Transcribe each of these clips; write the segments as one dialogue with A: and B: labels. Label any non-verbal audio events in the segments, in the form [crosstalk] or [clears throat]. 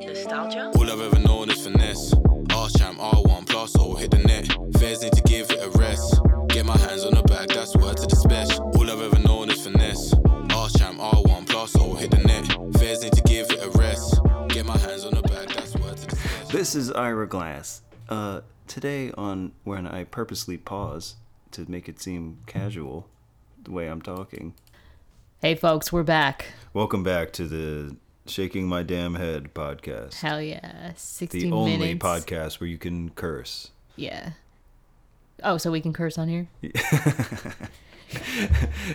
A: nostalgia.
B: All I've ever known is finesse. R champ, R1 plus, or hit the net. Fairs need to give it a rest. Get my hands on the bag, that's word to the special. All I've ever known is finesse. R champ, R1 plus, or hit the net. Fairs need to give it a rest. Get my hands on the bag, that's word to the special.
C: This is Ira Glass. Uh, today, on when I purposely pause to make it seem casual, the way I'm talking.
D: Hey, folks, we're back.
C: Welcome back to the Shaking My Damn Head podcast,
D: Hell yeah. 60
C: the
D: minutes.
C: only podcast where you can curse.
D: Yeah. Oh, so we can curse on here?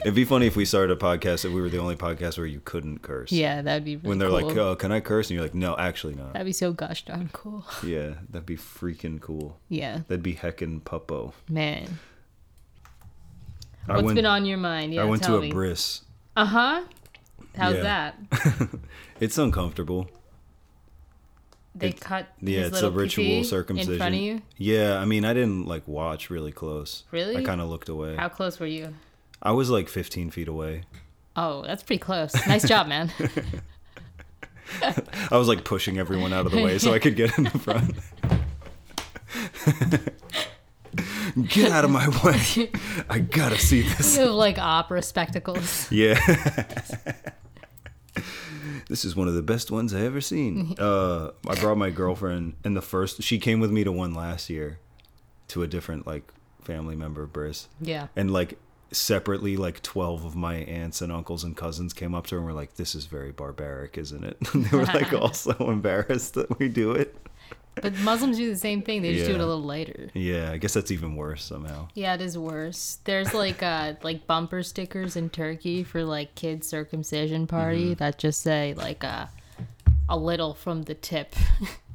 C: It'd be funny if we started a podcast that we were the only podcast where you couldn't curse.
D: Yeah, that'd be really
C: When they're like,
D: cool.
C: "Oh, can I curse?" and you're like, "No, actually not."
D: That'd be so gosh darn cool. [laughs]
C: Yeah, that'd be freaking cool.
D: Yeah,
C: That'd be heckin' puppo.
D: man.
C: I
D: What's
C: went,
D: been on your mind? Yeah,
C: I went
D: tell
C: to
D: me.
C: a bris.
D: Uh huh. How's
C: Yeah.
D: that?
C: [laughs] It's uncomfortable.
D: They
C: It's-
D: cut.
C: Yeah,
D: his
C: it's a
D: little pee-pee
C: ritual circumcision.
D: In front of you.
C: Yeah, I mean, I didn't like watch really close.
D: Really?
C: I kind of looked away.
D: How close were you?
C: I was like 15 feet away.
D: Oh, that's pretty close. Nice job,
C: [laughs]
D: man.
C: I was like pushing everyone out of the way so I could get in the front. [laughs] get out of my way. I gotta see this.
D: [laughs] you have like opera spectacles.
C: Yeah. [laughs] this is one of the best ones I ever
D: [laughs]
C: seen. Uh, I brought my girlfriend, and the first she came with me to one last year, to a different like family member, Briss,
D: Yeah.
C: and like separately like 12 of my aunts and uncles and cousins came up to her and were like this is very barbaric isn't it [laughs] and they were like
D: [laughs]
C: all so embarrassed that we do it
D: But Muslims do the same thing. They just do it
C: Yeah.
D: a little later.
C: yeah i guess that's even worse somehow
D: Yeah, it is worse. There's like uh like bumper stickers in Turkey for like kids circumcision
C: Mm-hmm.
D: party that just say like uh, a little from the tip.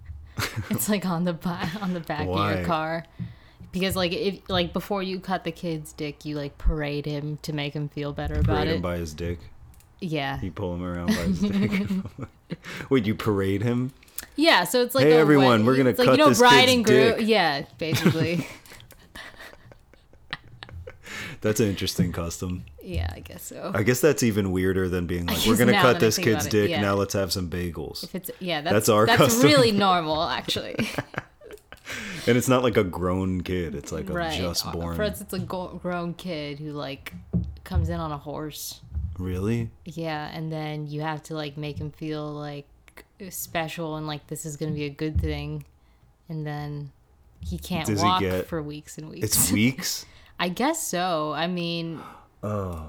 D: [laughs] it's like on the bi- on the back of
C: Why?
D: your car. Because like if like before you cut the kid's dick, you like parade him to make him feel better about
C: parade him
D: it.
C: by his dick
D: yeah.
C: you pull him around by his dick [laughs] wait you parade him
D: Yeah, so it's like
C: Hey,
D: a
C: everyone,
D: wed-
C: we're gonna
D: it's like,
C: cut
D: you know,
C: this
D: bride
C: kid's
D: and groom.
C: dick.
D: Yeah, basically. [laughs]
C: that's an interesting custom
D: yeah, I guess so.
C: i guess that's even weirder than being like
D: guess
C: we're gonna
D: now
C: cut
D: that I
C: this
D: think about
C: kid's
D: it,
C: dick
D: yeah.
C: now let's have some bagels
D: If it's yeah, that's
C: That's our
D: that's
C: custom. [laughs]
D: really normal actually.
C: and it's not like a grown kid it's like a just
D: Uh,
C: born
D: For us, it's a go- grown kid who like comes in on a horse.
C: really
D: Yeah, and then you have to like make him feel like special and like this is gonna be a good thing, and then he can't
C: Does he
D: walk
C: get-
D: for weeks and weeks. [laughs]
C: it's weeks
D: I guess so. I mean,
C: oh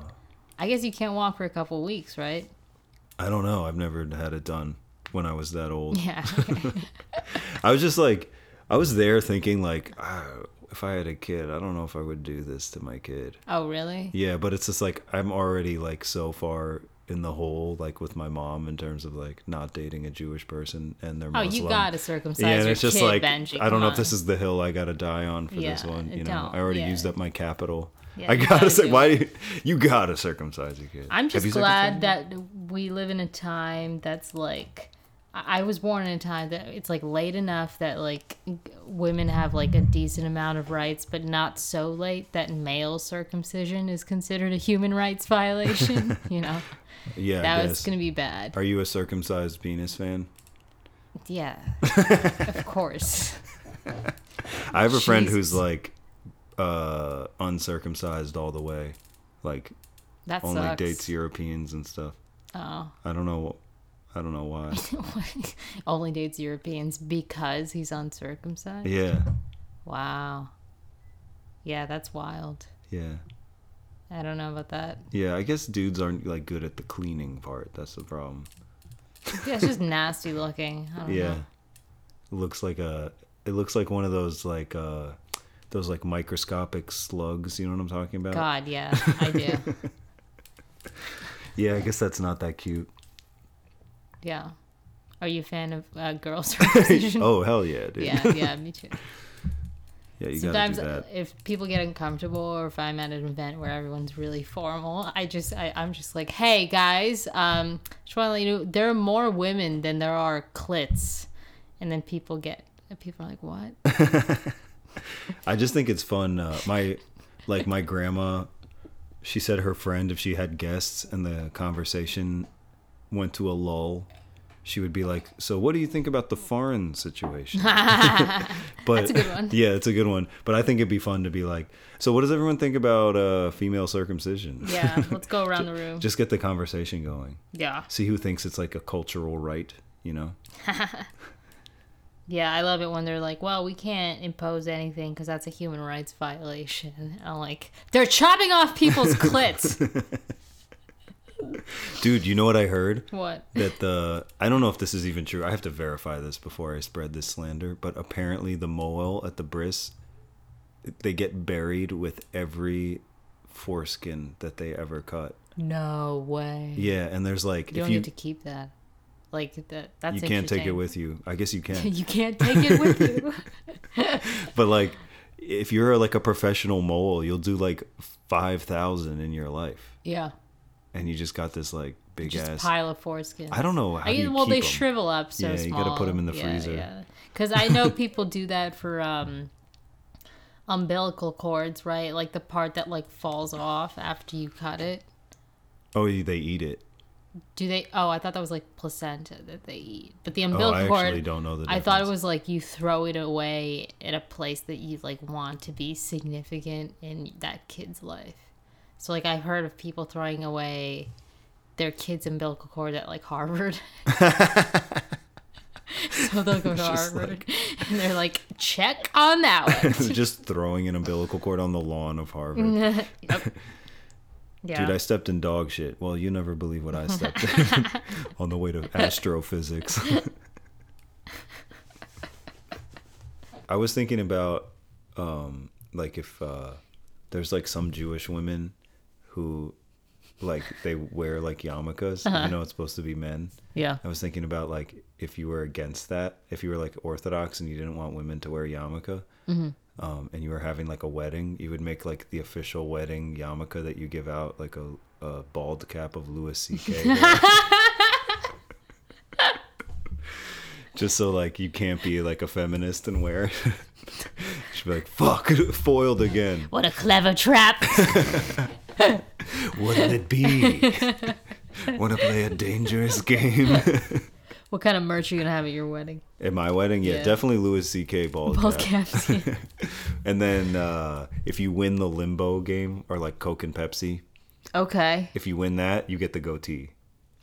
D: I guess you can't walk for a couple weeks, right? [laughs]
C: i don't know i've never had it done when i was that old [laughs]
D: Yeah.
C: I was just like, I was there thinking like, ah, if I had a kid, I don't know if I would do this to my kid.
D: oh really?
C: Yeah, but it's just like I'm already like so far in the hole, like with my mom in terms of like not dating a Jewish person and their
D: Oh,
C: Muslim.
D: you gotta circumcise
C: yeah, and
D: your
C: it's just
D: kid,
C: like
D: Benji.
C: I don't
D: come
C: know
D: on.
C: if this is the hill I gotta die on for this
D: Yeah,
C: one. You know,
D: don't-
C: I already
D: yeah.
C: used up my capital.
D: Yeah,
C: I
D: you
C: gotta
D: gotta
C: say,
D: do
C: why do you, you gotta circumcise your kid?
D: I'm
C: Have
D: just
C: you
D: glad
C: circumcised
D: that we live in a time that's like I I was born in a time that it's like late enough that like g- women have like a decent amount of rights, but not so late that male circumcision is considered a human rights
C: [laughs]
D: violation. you know,
C: your- Yeah, I
D: that was
C: guess.
D: gonna be bad.
C: Are you a circumcised penis fan? [laughs]
D: Yeah, of course.
C: I have a friend who's
D: Jesus.
C: like uh uncircumcised all the way. Like
D: That
C: only
D: sucks.
C: dates Europeans and stuff.
D: Oh,
C: I don't know I don't know why.
D: [laughs]
C: [laughs]
D: only dates Europeans because he's uncircumcised.
C: yeah.
D: Wow. Yeah, that's wild.
C: Yeah.
D: I don't know about that.
C: Yeah, I guess dudes aren't like good at the cleaning part. That's the problem.
D: Yeah, it's just nasty looking. I don't
C: Yeah.
D: know.
C: It looks like a it looks like one of those like uh those like microscopic slugs, you know what I'm talking about?
D: God, yeah,
C: [laughs]
D: I do.
C: Yeah, I guess that's not that
D: [laughs]
C: cute.
D: yeah. Are you a fan of uh,
C: [laughs]
D: girl [laughs] circumcision?
C: Oh hell yeah, dude.
D: Yeah, yeah, me too.
C: [laughs] Yeah, you
D: Sometimes
C: gotta do that.
D: if people get uncomfortable or if I'm at an event where everyone's really formal, I just I, I'm just like, hey guys, um, just want to let you know there are more women than there are clits, and then people get people are like, what?
C: I just think it's fun. Uh, my like my grandma, she said her friend if she had guests and the conversation went to a lull, she would be like, "So what do you think about the foreign
D: [laughs]
C: situation?" [laughs] but
D: That's
C: [laughs]
D: a good one.
C: yeah, it's a good one. But I think it'd be fun to be like, "So what does everyone think about uh, female circumcision?"
D: Yeah, let's go
C: [laughs]
D: around the room.
C: Just get the conversation going.
D: Yeah.
C: See who thinks it's like a cultural right, you know?
D: Yeah, I love it when they're like, well, we can't impose anything because that's a human rights violation. [laughs] I'm like, they're chopping
C: [laughs]
D: off people's clits.
C: Dude, you know what I heard?
D: what?
C: that the I don't know if this is even true. I have to verify this before I spread this slander, but apparently the moel at the bris they get buried with every foreskin that they ever cut.
D: No way.
C: Yeah, and there's like
D: you
C: if
D: don't
C: you
D: need to keep that. Like, that,
C: you
D: that's
C: can't take it
D: interesting.
C: with you. I
D: [laughs]
C: guess you can.
D: You can't take it with
C: [laughs]
D: you.
C: but like if you're like a professional mole, you'll do like 5,000 in your life
D: yeah.
C: and you just got this like big
D: Just
C: ass
D: pile of foreskins.
C: I don't know how
D: I-
C: you
D: well,
C: keep
D: they
C: 'em.
D: shrivel up so
C: Yeah,
D: small.
C: you gotta put 'em in the
D: Yeah,
C: freezer.
D: Yeah, because I know people do that for um, umbilical cords, right? Like the part that like falls off after you cut it.
C: Oh, they eat it.
D: Do they? Oh, I thought that was like placenta that they eat. But the
C: Oh,
D: umbilical
C: I
D: cord,
C: actually don't know the
D: I
C: difference.
D: thought it was like you throw it away at a place that you like want to be significant in that kid's life. So like I've heard of people throwing away their kids' umbilical cord at like Harvard. [laughs] so they'll
C: [laughs]
D: go to Harvard [laughs] and they're like, check on that one.
C: just throwing an umbilical cord on the lawn
D: [laughs]
C: of Harvard.
D: Yep. Yeah.
C: [laughs] Dude, I stepped in dog shit. Well, you never believe what I stepped in [laughs] on the way to astrophysics. I was thinking about um like if uh there's like some Jewish women who like they wear like yarmulkes, I know it's supposed to be men.
D: yeah.
C: I was thinking about like if you were against that, if you were like Orthodox and you didn't want women to wear yarmulke, um, and you were having like a wedding, you would make like the official wedding yarmulke that you give out, like a, a bald cap of Louis C.K. [laughs] Just so like you can't be like a feminist and wear. it. [laughs] She'd be like, "Fuck, foiled again.
D: What a clever trap. [laughs]
C: What did it be? Want to play a dangerous game?"
D: what kind of merch are you going to have at your wedding?
C: [laughs] At my wedding, yeah,
D: Yeah.
C: definitely Louis C.K. bald,
D: Both
C: cap.
D: caps.
C: [laughs]
D: yeah.
C: And then uh, if you win the limbo game or like Coke and Pepsi,
D: okay.
C: if you win that, you get the goatee.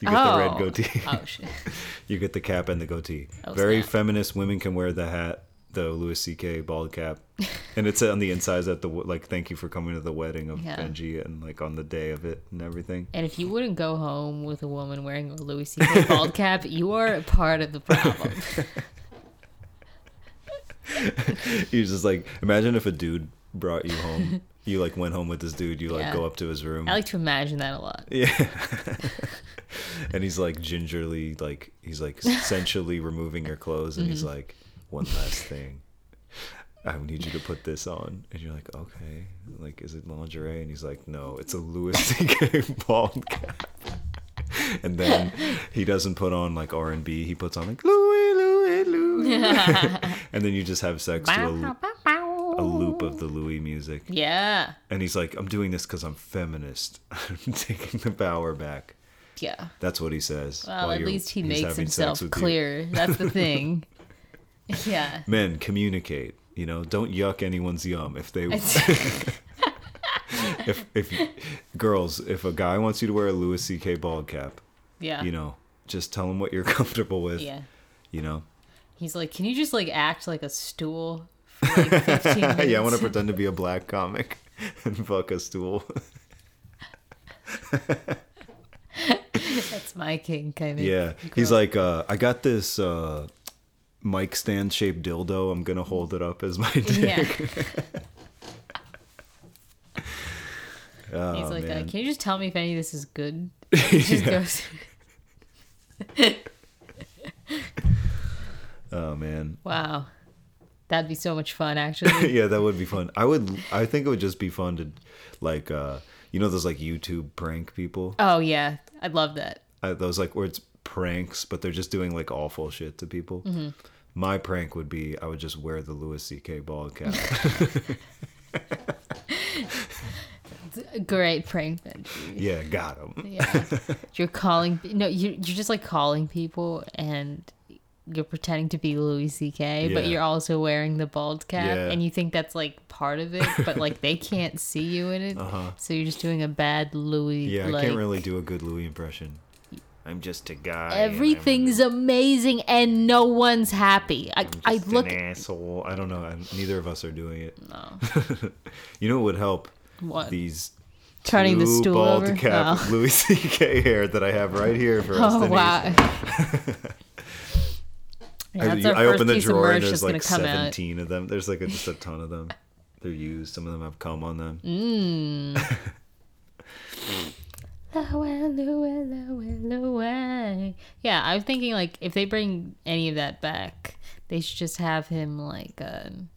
C: You get the red
D: Oh.
C: goatee.
D: [laughs] Oh, shit.
C: [laughs] you get the cap and the goatee. Very
D: snap.
C: feminist women can wear the hat, the Louis C.K. bald cap,
D: [laughs]
C: and it's on the insides at the w- like thank you for coming to the wedding of
D: Yeah.
C: Benji and like on the day of it and everything. [laughs]
D: And if you wouldn't go home with a woman wearing a Louis C.K.
C: [laughs]
D: bald cap, you are a part of the problem.
C: You're just like imagine if a dude brought you
D: [laughs]
C: home. You like went home with this dude. You like
D: Yeah.
C: go up to his room.
D: I like to imagine that a lot.
C: Yeah. and he's like gingerly, like he's like sensually removing your clothes, and he's like, "One last thing, I need you to put this on." And you're like, "Okay, like is it lingerie?" And he's like, "No, it's a Louis [laughs] C.K. bald cap." And then he doesn't put on like R and B. He puts on like Louis, Louis, Louis, and then you just have sex to a, a loop of the Louis music.
D: Yeah.
C: And he's like, "I'm doing this because I'm feminist. [laughs] I'm taking the power back."
D: Yeah.
C: That's what he says.
D: Well,
C: while
D: at
C: you're-
D: least he
C: he's
D: makes
C: having sex
D: himself
C: with you.
D: clear. That's
C: [laughs]
D: the thing. yeah.
C: Men communicate. You know, don't yuck anyone's yum. If they, if [laughs] if girls, if a guy wants you to wear a Louis C.K. bald cap,
D: yeah.
C: you know, just tell him what you're [laughs] comfortable with.
D: Yeah.
C: You
D: [laughs]
C: know.
D: He's like, can you just like act like a stool for
C: [laughs]
D: like 15 minutes?
C: yeah, I want to pretend to be a black comic [laughs] and fuck a stool. [laughs]
D: That's my king, kind of.
C: yeah, he's like, uh, I got this uh, mic stand shaped dildo. I'm gonna hold it up as my [laughs] dick.
D: Yeah. [laughs] He's
C: Oh,
D: like, uh,
C: man.
D: can you just tell me if any of this
C: [laughs]
D: is good? He just goes, [laughs]
C: oh man.
D: wow. That'd be so much fun,
C: [laughs]
D: actually. [laughs]
C: yeah, that would be fun. I would. I think it would just be fun to, like, uh, you know, those like YouTube prank people.
D: Oh, yeah. I'd love that.
C: Uh, those like where it's pranks, but they're just doing like awful shit to people.
D: Mm-hmm.
C: My prank would be I would just wear
D: [laughs]
C: the Louis C.K. bald cap.
D: Great prank Benji.
C: Yeah, got him.
D: Yeah. you're calling no, you you're just like calling people and you're pretending to be Louis C.K., but
C: Yeah.
D: you're also wearing the bald cap,
C: Yeah.
D: and you think that's like part of it, but like they can't see you
C: [laughs]
D: in it, so you're just doing a bad Louis.
C: Uh-huh. Yeah, I
D: like,
C: can't really do a good Louis impression. I'm just a guy. and I'm
D: Everything's amazing, and no one's happy. I I
C: just
D: look
C: an asshole. I don't know. I, neither of us are doing it. [laughs] you know what would help?
D: What?
C: These
D: turning the
C: two
D: stool
C: bald
D: over.
C: cap
D: Oh.
C: Louis C.K. hair that I have right here for us.
D: Oh, [laughs]
C: to use.
D: wow. [laughs] Yeah,
C: I,
D: that's our
C: I
D: first
C: opened the
D: piece of
C: drawer
D: merch
C: and there's
D: that's
C: like
D: gonna come out.
C: 17 of them. There's like a, just a ton of them. They're used. Some of them have cum on them.
D: Mm. Loe, loe, loe, loe. Yeah, I was thinking like if they bring any of that back, they should just have him like um,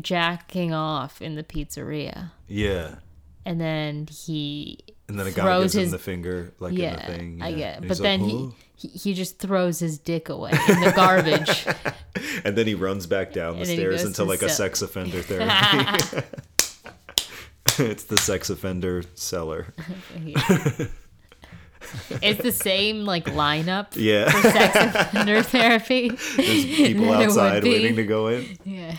D: jacking off in the pizzeria,
C: Yeah.
D: and then he
C: And then a guy gives
D: Throws his-
C: him the finger, like
D: yeah,
C: in the thing.
D: I
C: yeah.
D: get,
C: And
D: but
C: he's like,
D: then
C: "Ooh."
D: he, he he just throws his dick away in the garbage.
C: And then he runs back down the
D: And then he
C: stairs
D: goes
C: into
D: to
C: like a
D: sell-
C: sex offender
D: [laughs]
C: therapy. [laughs] it's the sex offender
D: [laughs]
C: cellar.
D: [laughs] it's the same like lineup
C: Yeah.
D: sex offender therapy. [laughs]
C: There's people
D: There would
C: outside
D: be.
C: waiting to go in.
D: Yeah.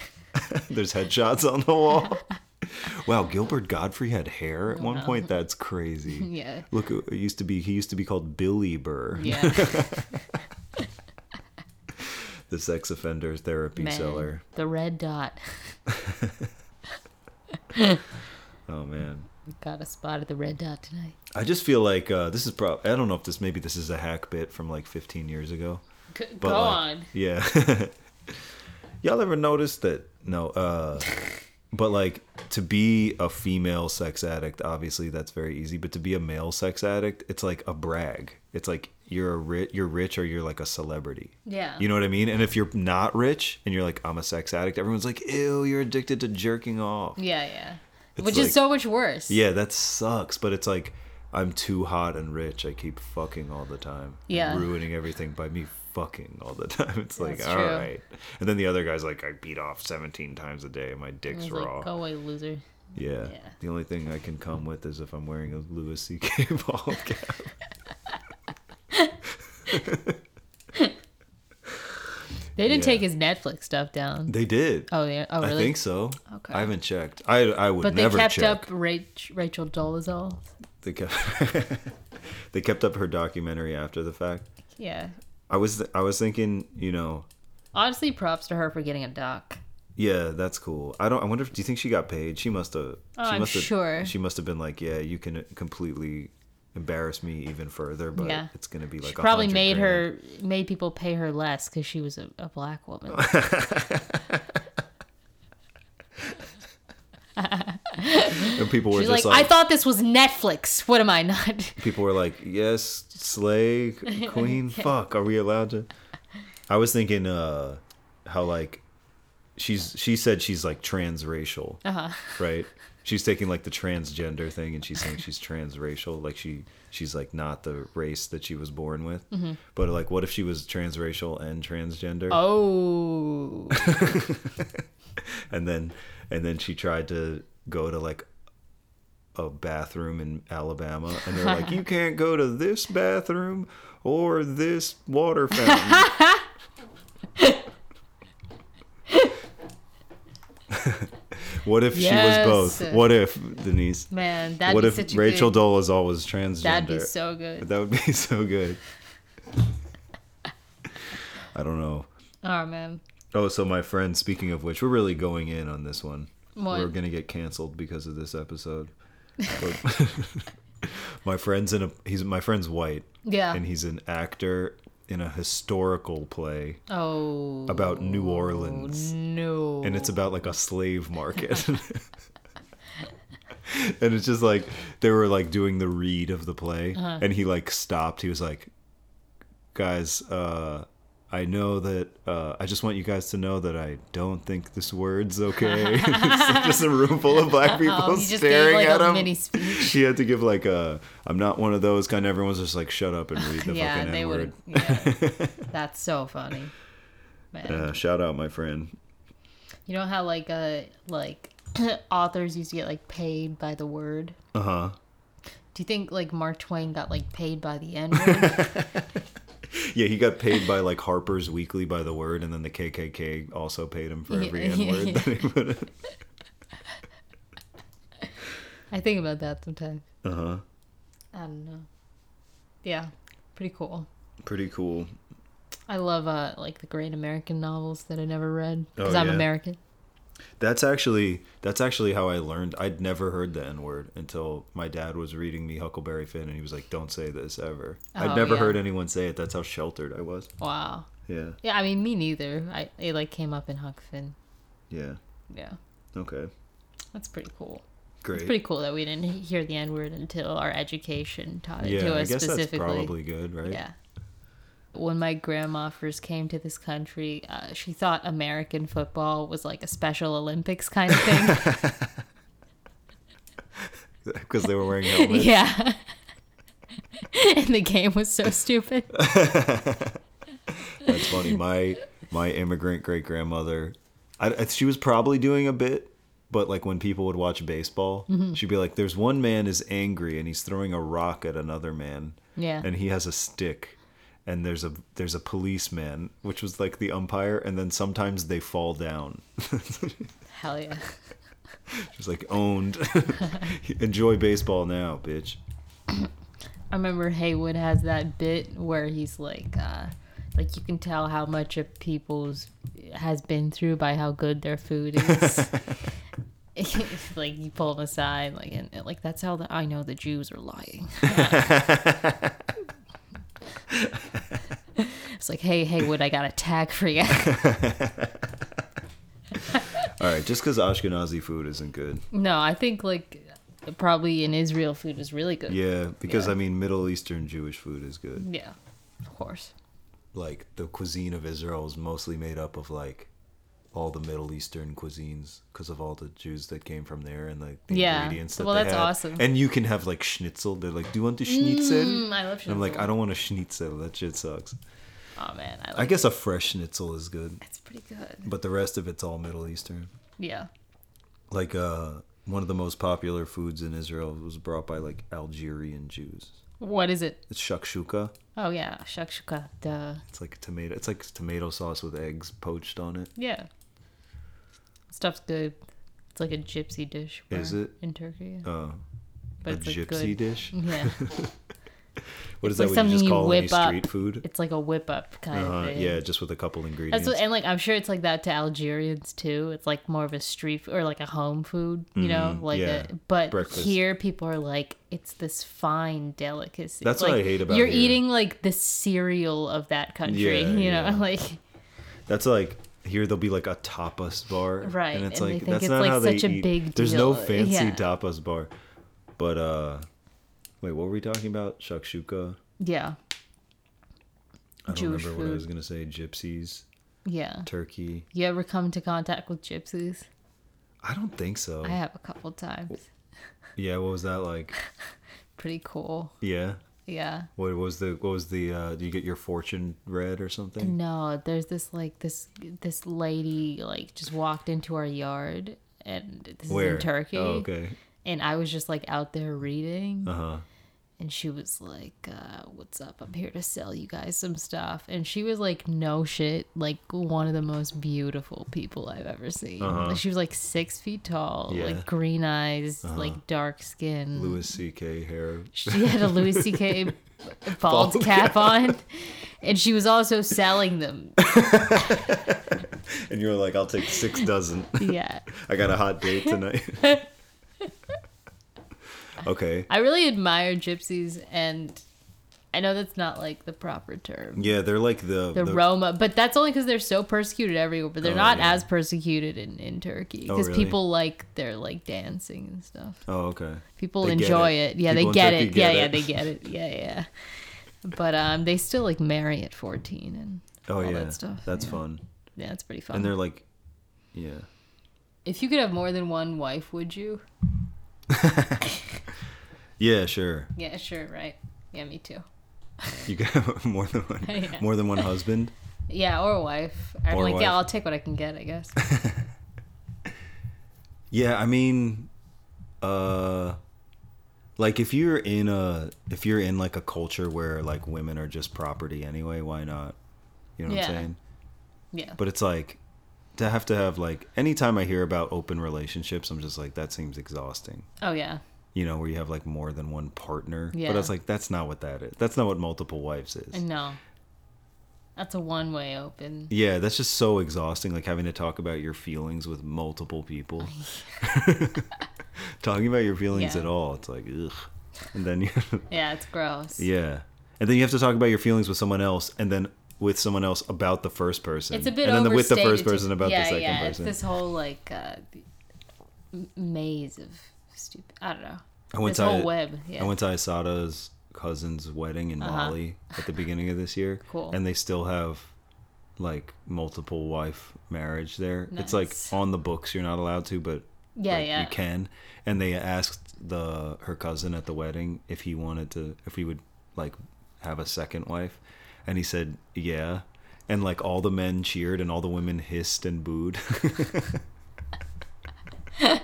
C: There's headshots on the
D: [laughs]
C: wall. Wow, Gilbert Godfrey had hair at one point. That's crazy.
D: [laughs] Yeah.
C: Look, it used to be he used to be called Billy Burr,
D: [laughs] Yeah.
C: the sex offender therapy
D: Man,
C: cellar.
D: The red dot
C: Oh man.
D: got a spot at the red dot tonight.
C: I just feel like uh, this is probably I don't know if this maybe this is a hack bit from like 15 years ago.
D: G-
C: But
D: go
C: like,
D: on.
C: Yeah. [laughs] Y'all ever noticed that? No. Uh, [laughs] but like to be a female sex addict, obviously that's very easy. But to be a male sex addict, it's like a brag. It's like you're a rich, you're rich, or you're like a celebrity.
D: Yeah.
C: You know what I mean? And if you're not rich and you're like I'm a sex addict, everyone's like, ew, you're addicted to jerking off.
D: Yeah, yeah.
C: It's
D: Which
C: like-
D: is so much worse.
C: Yeah, that sucks. But it's like I'm too hot and rich. I keep fucking all the time. and
D: Yeah.
C: ruining everything by me fucking all the [laughs] time. It's like
D: That's
C: all right.
D: true.
C: And then the other guy's like, I beat off 17 times a day. and My dick's
D: It's
C: raw.
D: like, go away, loser.
C: yeah.
D: yeah.
C: The only thing I can come with is if I'm wearing a Louis C.K. [laughs] ball cap.
D: They didn't
C: Yeah.
D: take his Netflix stuff down.
C: They did.
D: Oh, yeah. Oh, really?
C: I think so.
D: Okay.
C: I haven't checked. I I would
D: But they
C: never
D: kept
C: check.
D: up Rach- Rachel Dolezal.
C: They kept. [laughs] they kept up her documentary after the fact.
D: Yeah.
C: I was I was thinking, you know,
D: Honestly, props to her for getting a doc.
C: Yeah, that's cool. I don't. I wonder if. Do you think she got paid? She must have.
D: Oh,
C: she
D: I'm
C: must have,
D: sure.
C: She must have been like, yeah, you can completely embarrass me even further, but
D: Yeah.
C: it's gonna be like.
D: She probably
C: 100
D: made
C: grand. [laughs]
D: her made people pay her less because she was a, a
C: [laughs]
D: black woman.
C: And people were
D: She's
C: just
D: like,
C: like,
D: I thought this was Netflix. What am I not? [laughs]
C: people were like, yes, slay c- queen. Fuck, are we allowed to? I was thinking, uh, how like, she's she said she's like transracial, uh-huh. right? She's taking like the transgender thing and she's saying she's transracial, like she she's like not the race that she was born with. But like, what if she was transracial and transgender?
D: Oh,
C: and then and then she tried to go to like a bathroom in Alabama and they're like
D: [laughs]
C: you can't go to this bathroom or this water fountain [laughs] what if she was both
D: Yes.
C: what if denise
D: man, that'd
C: what
D: be
C: if
D: such a
C: rachel
D: good,
C: dolezal was always transgender
D: That'd be so good.
C: that would be [laughs] so good i don't know
D: Oh man,
C: Oh, so my friend, speaking of which, we're really going in on this one.
D: What?
C: We're going to get canceled because of this episode. But- [laughs] my friend's in a he's my friend's white
D: yeah.
C: and he's an actor in a historical play
D: oh
C: about New Orleans
D: no,
C: and it's about like a slave market. [laughs] and it's just like they were like doing the read of the play
D: Uh-huh.
C: and he like stopped. He was like, "Guys, uh I know that uh, I just want you guys to know that I don't think this word's okay. [laughs] it's just a room full of black people
D: Oh, he just gave,
C: staring
D: like,
C: at
D: a
C: him. [laughs]
D: mini speech.
C: He had to give like a "I'm not one of those" kind. Everyone's just like, "Shut up and read the
D: [laughs] yeah,
C: fucking
D: they
C: N word."
D: would. Yeah.
C: [laughs]
D: That's so funny, man.
C: Uh, shout out, my friend.
D: You know how like [clears throat] uh like authors used to get like paid by the word.
C: Uh huh.
D: Do you think like Mark Twain got like paid by
C: [laughs]
D: the N word?
C: Yeah, he got paid by like Harper's Weekly by the word, and then the KKK also paid him for
D: Yeah,
C: every
D: yeah,
C: N word
D: yeah.
C: that he put
D: [laughs]
C: in.
D: I think about that sometimes.
C: Uh huh.
D: I don't know. Yeah, pretty cool.
C: Pretty cool.
D: I love uh like the great American novels that I never read because
C: Oh,
D: I'm
C: yeah.
D: American.
C: That's actually that's actually how I learned. I'd never heard the N word until my dad was reading me Huckleberry Finn, and he was like, "Don't say this ever."
D: Oh,
C: I'd never
D: yeah.
C: heard anyone say it. That's how sheltered I was.
D: Wow.
C: Yeah.
D: Yeah, I mean me neither. I it like came up in Huck Finn.
C: Yeah.
D: Yeah,
C: Okay.
D: that's pretty cool. It's
C: Great.
D: pretty cool that we didn't he- hear the N word until our education taught it
C: yeah,
D: to
C: I
D: us
C: guess that's
D: specifically.
C: probably good, right? [laughs]
D: Yeah. When my grandma first came to this country, uh, she thought American football was like a Special Olympics kind of thing.
C: Because they were wearing helmets.
D: [laughs] yeah. and the game was so stupid.
C: That's funny. My my immigrant great grandmother, I, I- she was probably doing a bit, but like when people would watch baseball,
D: Mm-hmm.
C: she'd be like, "There's one man is angry and he's throwing a rock at another man,
D: Yeah.
C: and he has a stick." And there's a there's a policeman, which was like the umpire, and then sometimes they fall down.
D: Hell yeah.
C: She's like owned. [laughs] Enjoy baseball now, bitch.
D: I remember Haywood has that bit where he's like, uh, like you can tell how much a people's has been through by how good their food is. [laughs] like you pull them aside, like and like that's how the, I know the Jews are lying. [laughs] it's like, hey Haywood, I got a tag for you.
C: All right, just because Ashkenazi food isn't good,
D: [laughs] no, I think like probably in Israel food was really good.
C: yeah, because
D: Yeah.
C: I mean Middle Eastern Jewish food is good.
D: yeah of course.
C: like the cuisine of Israel is mostly made up of like all the Middle Eastern cuisines because of all the Jews that came from there and like the
D: Yeah.
C: ingredients that
D: Well,
C: they
D: that's
C: had.
D: awesome.
C: And you can have like schnitzel. They're like, "Do you want the schnitzel?"
D: Mm, I love.
C: And I'm like,
D: schnitzel.
C: "I don't want a schnitzel. That shit sucks."
D: Oh man, I, love
C: I guess a fresh schnitzel is good,
D: It's pretty good.
C: but the rest of it's all Middle Eastern.
D: Yeah.
C: Like uh one of the most popular foods in Israel was brought by like Algerian Jews.
D: What is it?
C: It's shakshuka.
D: Oh yeah, shakshuka. Duh.
C: It's like tomato. It's like tomato sauce with eggs poached on it.
D: Yeah. Stuff's good. It's like a gypsy dish.
C: Is
D: where-
C: it?
D: in Turkey? yeah.
C: Uh,
D: But
C: a
D: it's
C: gypsy
D: like good.
C: dish.
D: [laughs] Yeah.
C: What is that? What
D: It's like
C: you
D: something
C: just
D: you
C: call any
D: whip up.
C: street food?
D: It's like a whip up kind
C: Uh,
D: of thing.
C: yeah, just with a couple ingredients.
D: That's what, and like I'm sure it's like that to Algerians too. It's like more of a street f- or like a home food, you know, like
C: Mm-hmm. yeah.
D: a, but
C: Breakfast.
D: here people are like it's this fine delicacy.
C: That's
D: like,
C: what I hate about
D: You're
C: here.
D: eating like the cereal of that country,
C: Yeah,
D: [laughs] you know,
C: yeah.
D: like
C: That's like here there'll be like a tapas bar,
D: Right,
C: And it's
D: and they
C: like
D: think
C: that's
D: it's,
C: not
D: like,
C: how they
D: such a
C: eat.
D: big
C: There's no
D: deal.
C: fancy
D: Yeah.
C: tapas bar, but uh, wait, what were we talking about? Shakshuka.
D: yeah,
C: I don't
D: Jewish
C: remember what I was
D: food.
C: gonna say. Gypsies,
D: yeah.
C: Turkey.
D: You ever come into contact with gypsies?
C: I don't think so.
D: I have a couple times.
C: Yeah, what was that like?
D: Pretty cool.
C: Yeah,
D: Yeah.
C: what was the what was the? uh Do you get your fortune read or something?
D: No, there's this like this this lady like just walked into our yard and this is
C: Where
D: in Turkey.
C: Oh, okay.
D: And I was just like out there reading
C: Uh huh.
D: and she was like, uh, what's up? I'm here to sell you guys some stuff. And she was like, no shit, like one of the most beautiful people I've ever seen.
C: Uh-huh.
D: She was like six feet tall,
C: Yeah. Uh-huh.
D: like green eyes, like dark skin.
C: Louis C.K. hair.
D: She had a Louis
C: [laughs]
D: C.K. bald,
C: Bald
D: cap on, and she was also selling them.
C: And you were like, I'll take six dozen.
D: Yeah,
C: I got a hot
D: [laughs]
C: date tonight. okay.
D: I really admire gypsies, and I know that's not like the proper term,
C: Yeah, they're like the,
D: the, Roma, but that's only because they're so persecuted everywhere. But they're
C: Oh,
D: not
C: yeah.
D: as persecuted in in Turkey
C: Oh,
D: because
C: really?
D: people like they're like dancing and stuff.
C: Oh, okay.
D: People
C: They get
D: enjoy
C: it.
D: it. Yeah,
C: People in
D: they get
C: Turkey
D: it.
C: get
D: yeah, yeah,
C: it.
D: they
C: [laughs]
D: get it. Yeah, yeah. But um, they still like marry at fourteen and
C: Oh
D: all
C: yeah.
D: that stuff.
C: That's
D: yeah.
C: fun.
D: Yeah, it's pretty fun.
C: And they're like yeah.
D: If you could have more than one wife, would you?
C: Yeah, sure.
D: Yeah, sure, right. Yeah, me too.
C: You can have [laughs] more than one
D: [laughs] Yeah.
C: more than one husband.
D: Yeah, or a wife. I'm
C: Or a
D: like,
C: wife.
D: yeah,
C: [laughs]
D: I'll take what I can get, I guess.
C: Yeah, I mean, uh, like if you're in a if you're in like a culture where like women are just property anyway, why not? You know what I'm
D: Yeah.
C: saying?
D: Yeah.
C: But it's like to have to have like anytime I hear about open relationships, I'm just like that seems exhausting.
D: oh yeah.
C: You know, where you have like more than one partner.
D: Yeah.
C: But I was like, that's not what that is. That's not what multiple wives is.
D: No. That's a one way open.
C: Yeah, that's just so exhausting. Like having to talk about your feelings with multiple people. [laughs]
D: [laughs]
C: Talking about your feelings
D: Yeah.
C: at all, it's like ugh. And then you,
D: Yeah, it's gross.
C: yeah, and then you have to talk about your feelings with someone else, and then with someone else about the first person.
D: It's a bit
C: And then the- with the
D: overstated
C: first
D: to-
C: person about the
D: yeah,
C: second
D: yeah, it's
C: person.
D: This whole like uh, m- maze of stupid. I don't know.
C: I went
D: this
C: to
D: whole web. Yeah. Uh-huh.
C: I went to Isada's cousin's wedding in Mali at the beginning of this year.
D: Cool.
C: And they still have like multiple wife marriage there. It's like
D: Nice.
C: on the books you're not allowed to, but
D: yeah,
C: like,
D: yeah.
C: you can. And they asked the her cousin at the wedding if he wanted to if he would like have a second wife. And he said, "Yeah." And like all the men cheered and all the women hissed and booed. [laughs]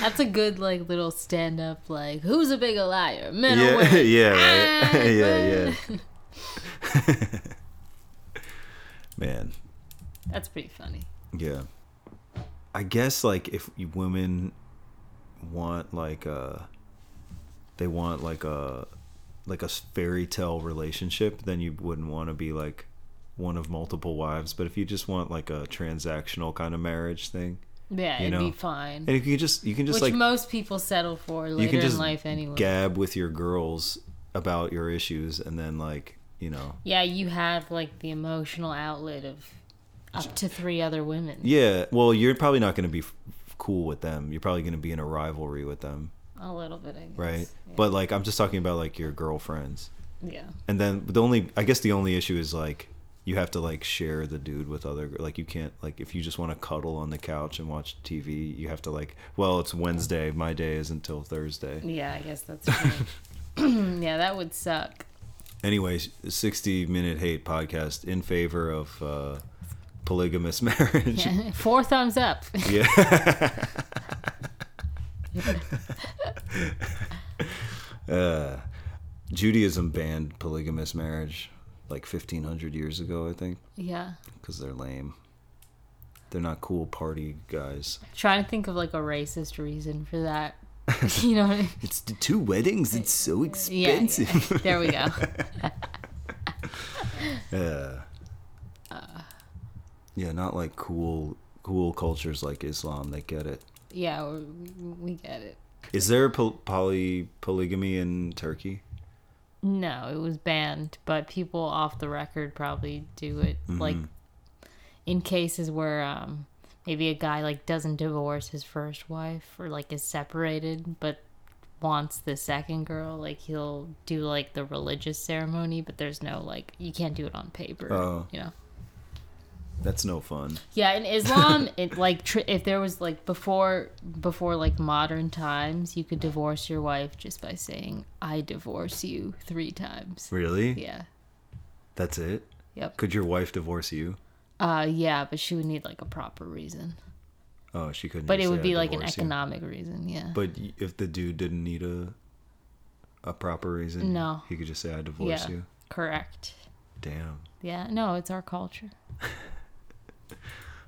D: That's a good like little stand up. Like, who's a bigger liar, men
C: [laughs]
D: or
C: yeah,
D: women?
C: yeah, right. yeah, yeah.
D: Ah,
C: [laughs] Man,
D: That's pretty funny.
C: yeah. I guess like if you- women want like a, they want like a, like a s- fairy tale relationship, then you wouldn't want to be like one of multiple wives. But if you just want like a transactional kind of marriage thing,
D: Yeah,
C: You
D: it'd
C: know,
D: be fine.
C: and you can just you can just
D: Which
C: like
D: most people settle for
C: you
D: later
C: can just
D: in life anyway.
C: gab with your girls about your issues, and then like you know
D: yeah, you have like the emotional outlet of up to three other women.
C: Yeah, well, you're probably not going to be f- f- cool with them. You're probably going to be in a rivalry with them,
D: A little bit, I guess.
C: right? But like, I'm just talking about like your girlfriends,
D: Yeah.
C: and then the only, I guess, the only issue is like you have to like share the dude with other like you can't like if you just want to cuddle on the couch and watch TV you have to like well it's Wednesday my day is until Thursday
D: Yeah, I guess that's true.
C: [laughs]
D: [clears throat] yeah, that would suck. [clears throat]
C: anyways 60 minute hate podcast in favor of uh polygamous [laughs] marriage
D: Yeah. Four thumbs up.
C: uh, Judaism banned polygamous marriage like 1500 years ago, I think,
D: yeah.
C: because they're lame. They're not cool party guys.
D: Trying to think of like a racist reason for that. you know what I mean?
C: It's the two weddings. It's so
D: Yeah,
C: expensive.
D: yeah. There we go.
C: [laughs] Yeah. yeah, not like cool cool cultures like Islam. They get it.
D: Yeah, we, we get it.
C: Is there pol- poly polygamy in Turkey?
D: No, it was banned, but people off the record probably do it like in cases where um maybe a guy like doesn't divorce his first wife or like is separated but wants the second girl, like he'll do like the religious ceremony, but there's no like you can't do it on paper,
C: Oh.
D: you know.
C: That's no fun.
D: Yeah, in Islam, it like tr- if there was like before before like modern times, you could divorce your wife just by saying "I divorce you" three times.
C: Really?
D: Yeah.
C: That's it?
D: Yep.
C: Could your wife divorce you?
D: Uh, yeah, but she would need like a proper reason.
C: Oh, she couldn't.
D: But
C: just
D: it
C: say,
D: would
C: "I
D: be like an
C: divorce you."
D: economic reason. Yeah.
C: But y- if the dude didn't need a a proper reason,
D: No.
C: he could just say, "I divorce
D: Yeah.
C: you."
D: Correct.
C: Damn.
D: Yeah. No, it's our culture.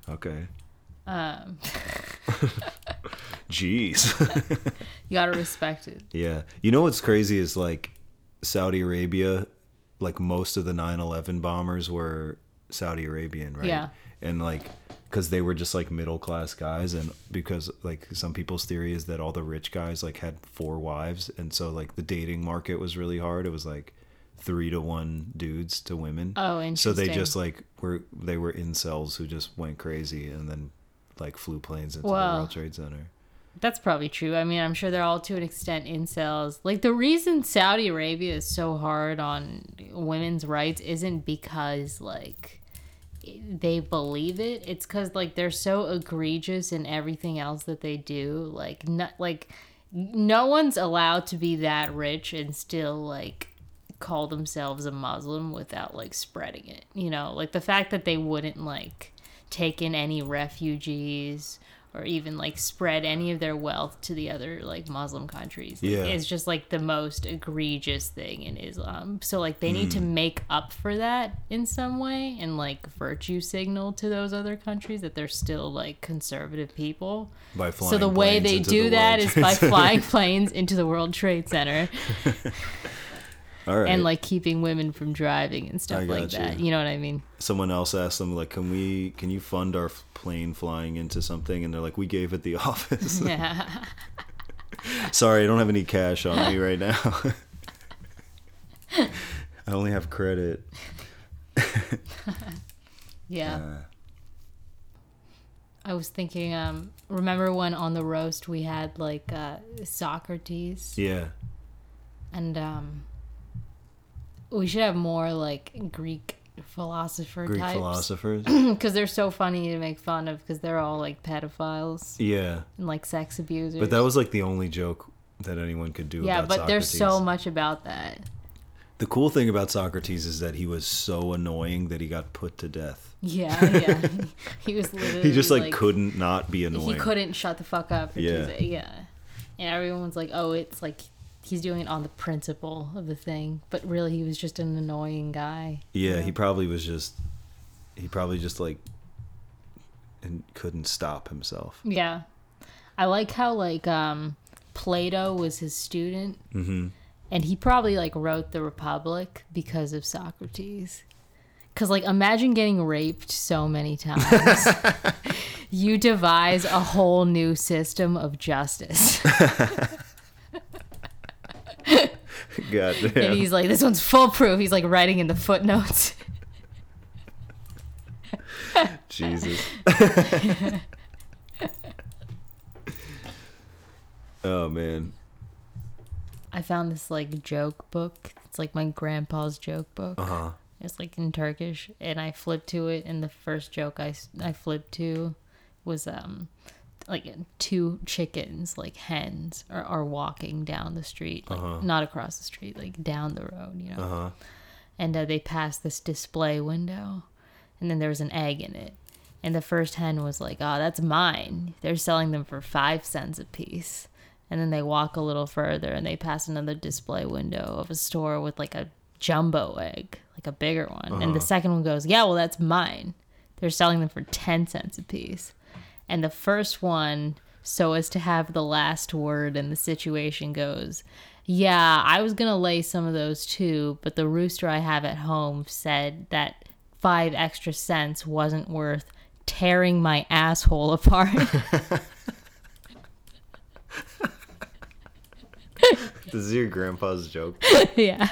C: Okay.
D: Um,
C: Jeez.
D: you gotta respect it.
C: yeah. You know what's crazy is like Saudi Arabia. Like most of the 9/11 bombers were Saudi Arabian, right?
D: Yeah.
C: And like, because they were just like middle class guys, and because like some people's theory is that all the rich guys like had four wives, and so like the dating market was really hard. It was like three to one dudes to women.
D: Oh,
C: so
D: interesting.
C: they just like were they were incels who just went crazy and then like flew planes into the
D: Wow.
C: World Trade Center.
D: That's probably true. I mean, I'm sure they're all to an extent incels. Like the reason Saudi Arabia is so hard on women's rights isn't because like they believe it. It's cuz like they're so egregious in everything else that they do. Like not like no one's allowed to be that rich and still like call themselves a Muslim without like spreading it. You know, like the fact that they wouldn't like take in any refugees or even like spread any of their wealth to the other like Muslim countries. Like,
C: Yeah.
D: It's just like the most egregious thing in Islam. So like they need to
C: Hmm.
D: make up for that in some way and like virtue signal to those other countries that they're still like conservative people.
C: By flying
D: so the way
C: planes
D: they
C: into
D: do
C: the
D: that
C: World
D: is
C: Trade
D: by
C: Center. [laughs]
D: flying planes into the World Trade Center
C: All right.
D: and like keeping women from driving and
C: I
D: stuff like
C: gotcha.
D: that. You know what
C: [laughs]
D: I mean?
C: someone else asked them like, "Can we? Can you fund our f- plane flying into something?" And they're like, "We gave it the [laughs] office.
D: Yeah. [laughs]
C: Sorry, I don't have any cash on me right
D: [laughs]
C: now. I only have credit."
D: Yeah.
C: Uh,
D: I was thinking, um, remember when on the roast we had like uh, Socrates
C: yeah.
D: and um, we should have more like Greek philosopher
C: Greek
D: types [laughs] [clears throat]
C: philosophers.
D: because they're so funny to make fun of because they're all like pedophiles
C: yeah.
D: and like sex abusers.
C: But that was like the only joke that anyone could do
D: yeah,
C: about
D: but there's so
C: Socrates.
D: much about that.
C: [laughs] The cool thing about Socrates is that he was so annoying that he got put to death.
D: Yeah, yeah. [laughs] he was literally
C: He just like, couldn't not be
D: he
C: annoying.
D: couldn't shut the fuck up for
C: Yeah.
D: Tuesday. Yeah. And everyone's like, oh, it's like he's doing it on the principle of the thing. But really, he was just an annoying guy.
C: yeah, he probably was just he probably just like and couldn't stop himself.
D: Yeah. I like how, like, um, Plato was his student. Mm-hmm. And he probably, like, wrote The Republic because of Socrates. Because, like, imagine getting raped so many times. you devise a whole new system of justice.
C: [laughs] [laughs] God
D: And
C: damn.
D: [laughs] he's like, this one's foolproof. He's like writing in the footnotes.
C: Jesus. [laughs] oh man.
D: I found this like joke book. It's like my grandpa's joke book.
C: Uh-huh.
D: It's like in Turkish, and I flipped to it, and the first joke I s- I flipped to was um like two chickens, like hens, are, are walking down the street, like not across the street, like down the road, you know.
C: Uh-huh.
D: And uh, they passed this display window, and then there was an egg in it. And the first hen was like, "Oh, that's mine." They're selling them for five cents a piece. And then they walk a little further, and they pass another display window of a store with like a jumbo egg, like a bigger one. And the second one goes, "Yeah, well, that's mine." They're selling them for ten cents a piece. And the first one, so as to have the last word in the situation, goes, Yeah, I was going to lay some of those too, but the rooster I have at home said that five extra cents wasn't worth tearing my asshole [laughs] apart.
C: This is your grandpa's joke.
D: yeah.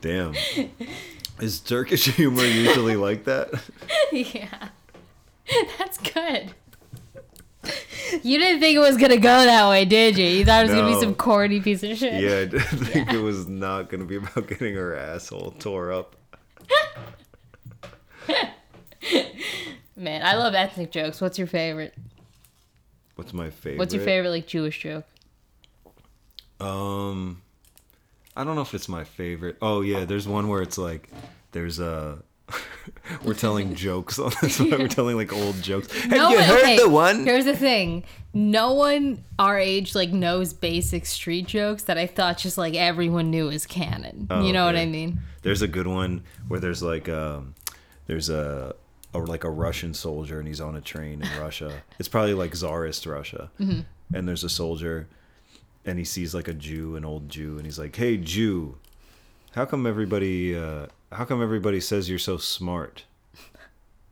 C: Damn. [laughs] Is Turkish humor usually like that?
D: Yeah. That's good. You didn't think it was going to go that way, did you? You thought it was going to
C: No.
D: be some corny piece of shit.
C: Yeah, I did think it was not going to be about getting her asshole tore up.
D: Man, I love ethnic jokes. What's your favorite?
C: What's my favorite?
D: What's your favorite, like, Jewish joke?
C: Um, I don't know if it's my favorite. Oh yeah, there's one where it's like, there's a. [laughs] we're telling jokes on this.
D: [laughs]
C: one. We're telling like old jokes. Have you
D: one-
C: heard
D: okay,
C: the one?
D: Here's the thing: no one our age like knows basic street jokes that I thought just like everyone knew is canon. you know what
C: Oh, okay.
D: I mean?
C: There's a good one where there's like um, there's a. Or like a Russian soldier, and he's on a train in Russia. It's probably like czarist Russia. And there's a soldier, and he sees like a Jew, an old Jew, and he's like, "Hey, Jew, how come everybody? Uh, how come everybody says you're so smart?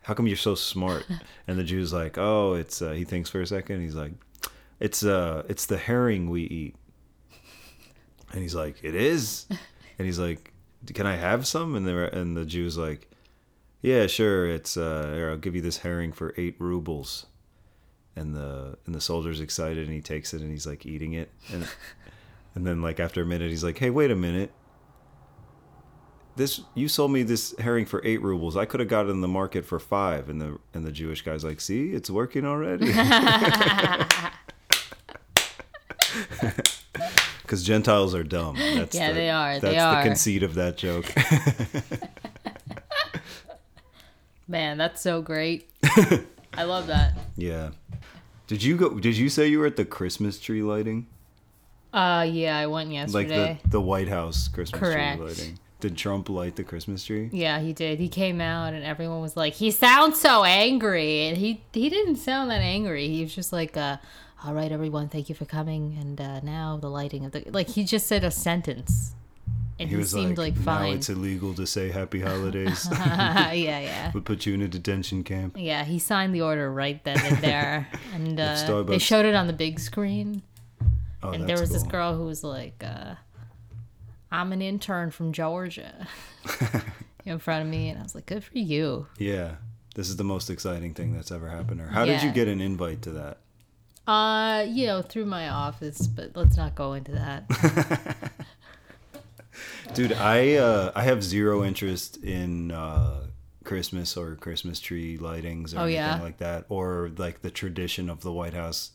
C: How come you're so smart?" And the Jew's like, "Oh, it's." Uh, he thinks for a second. He's like, "It's uh, it's the herring we eat." And he's like, "It is." And he's like, "Can I have some?" And the and the Jew's like, "Yeah, sure. It's uh, here, I'll give you this herring for eight rubles." And the and the soldier's excited, and he takes it, and he's like eating it, and [laughs] and then like after a minute, he's like, "Hey, wait a minute." This you sold me this herring for eight rubles. I could have got it in the market for five. And the and the Jewish guy's like, see, it's working already. [laughs] Because Gentiles are dumb. That's
D: Yeah,
C: the-
D: they are. They
C: That's
D: are.
C: the conceit of that joke.
D: Man, that's
C: [laughs]
D: so great. I love that.
C: Yeah. Did you go? Did you say you were at the Christmas tree lighting?
D: Uh, yeah, I went
C: Like
D: yesterday.
C: the, the White House Christmas
D: Correct.
C: tree lighting. Did Trump light the Christmas tree?
D: Yeah, he did. He came out and everyone was like, "He sounds so angry." And he he didn't sound that angry. He was just like, uh, "All right, everyone, thank you for coming." And uh, now the lighting of the like he just said a sentence, and he, seemed like,
C: now
D: fine.
C: it's illegal to say happy holidays.
D: [laughs] yeah, yeah,
C: we put you in a detention camp.
D: yeah. He signed the order right then
C: [laughs]
D: and there, and uh, they
C: Starbucks.
D: showed it on the big screen.
C: Oh,
D: and there
C: that's
D: was this
C: cool.
D: girl who was like, uh, "I'm an intern
C: [laughs]
D: from Georgia," in front of me, and I was like, "Good for you."
C: Yeah, this is the most exciting thing that's ever happened. to her. How did you
D: Yeah.
C: get an invite to that?
D: Uh, you know, through my office, but let's not go
C: [laughs]
D: into that.
C: Dude, I uh, I have zero interest in uh, Christmas or Christmas tree lightings or
D: Oh,
C: anything
D: yeah?
C: like that, or like the tradition of the White House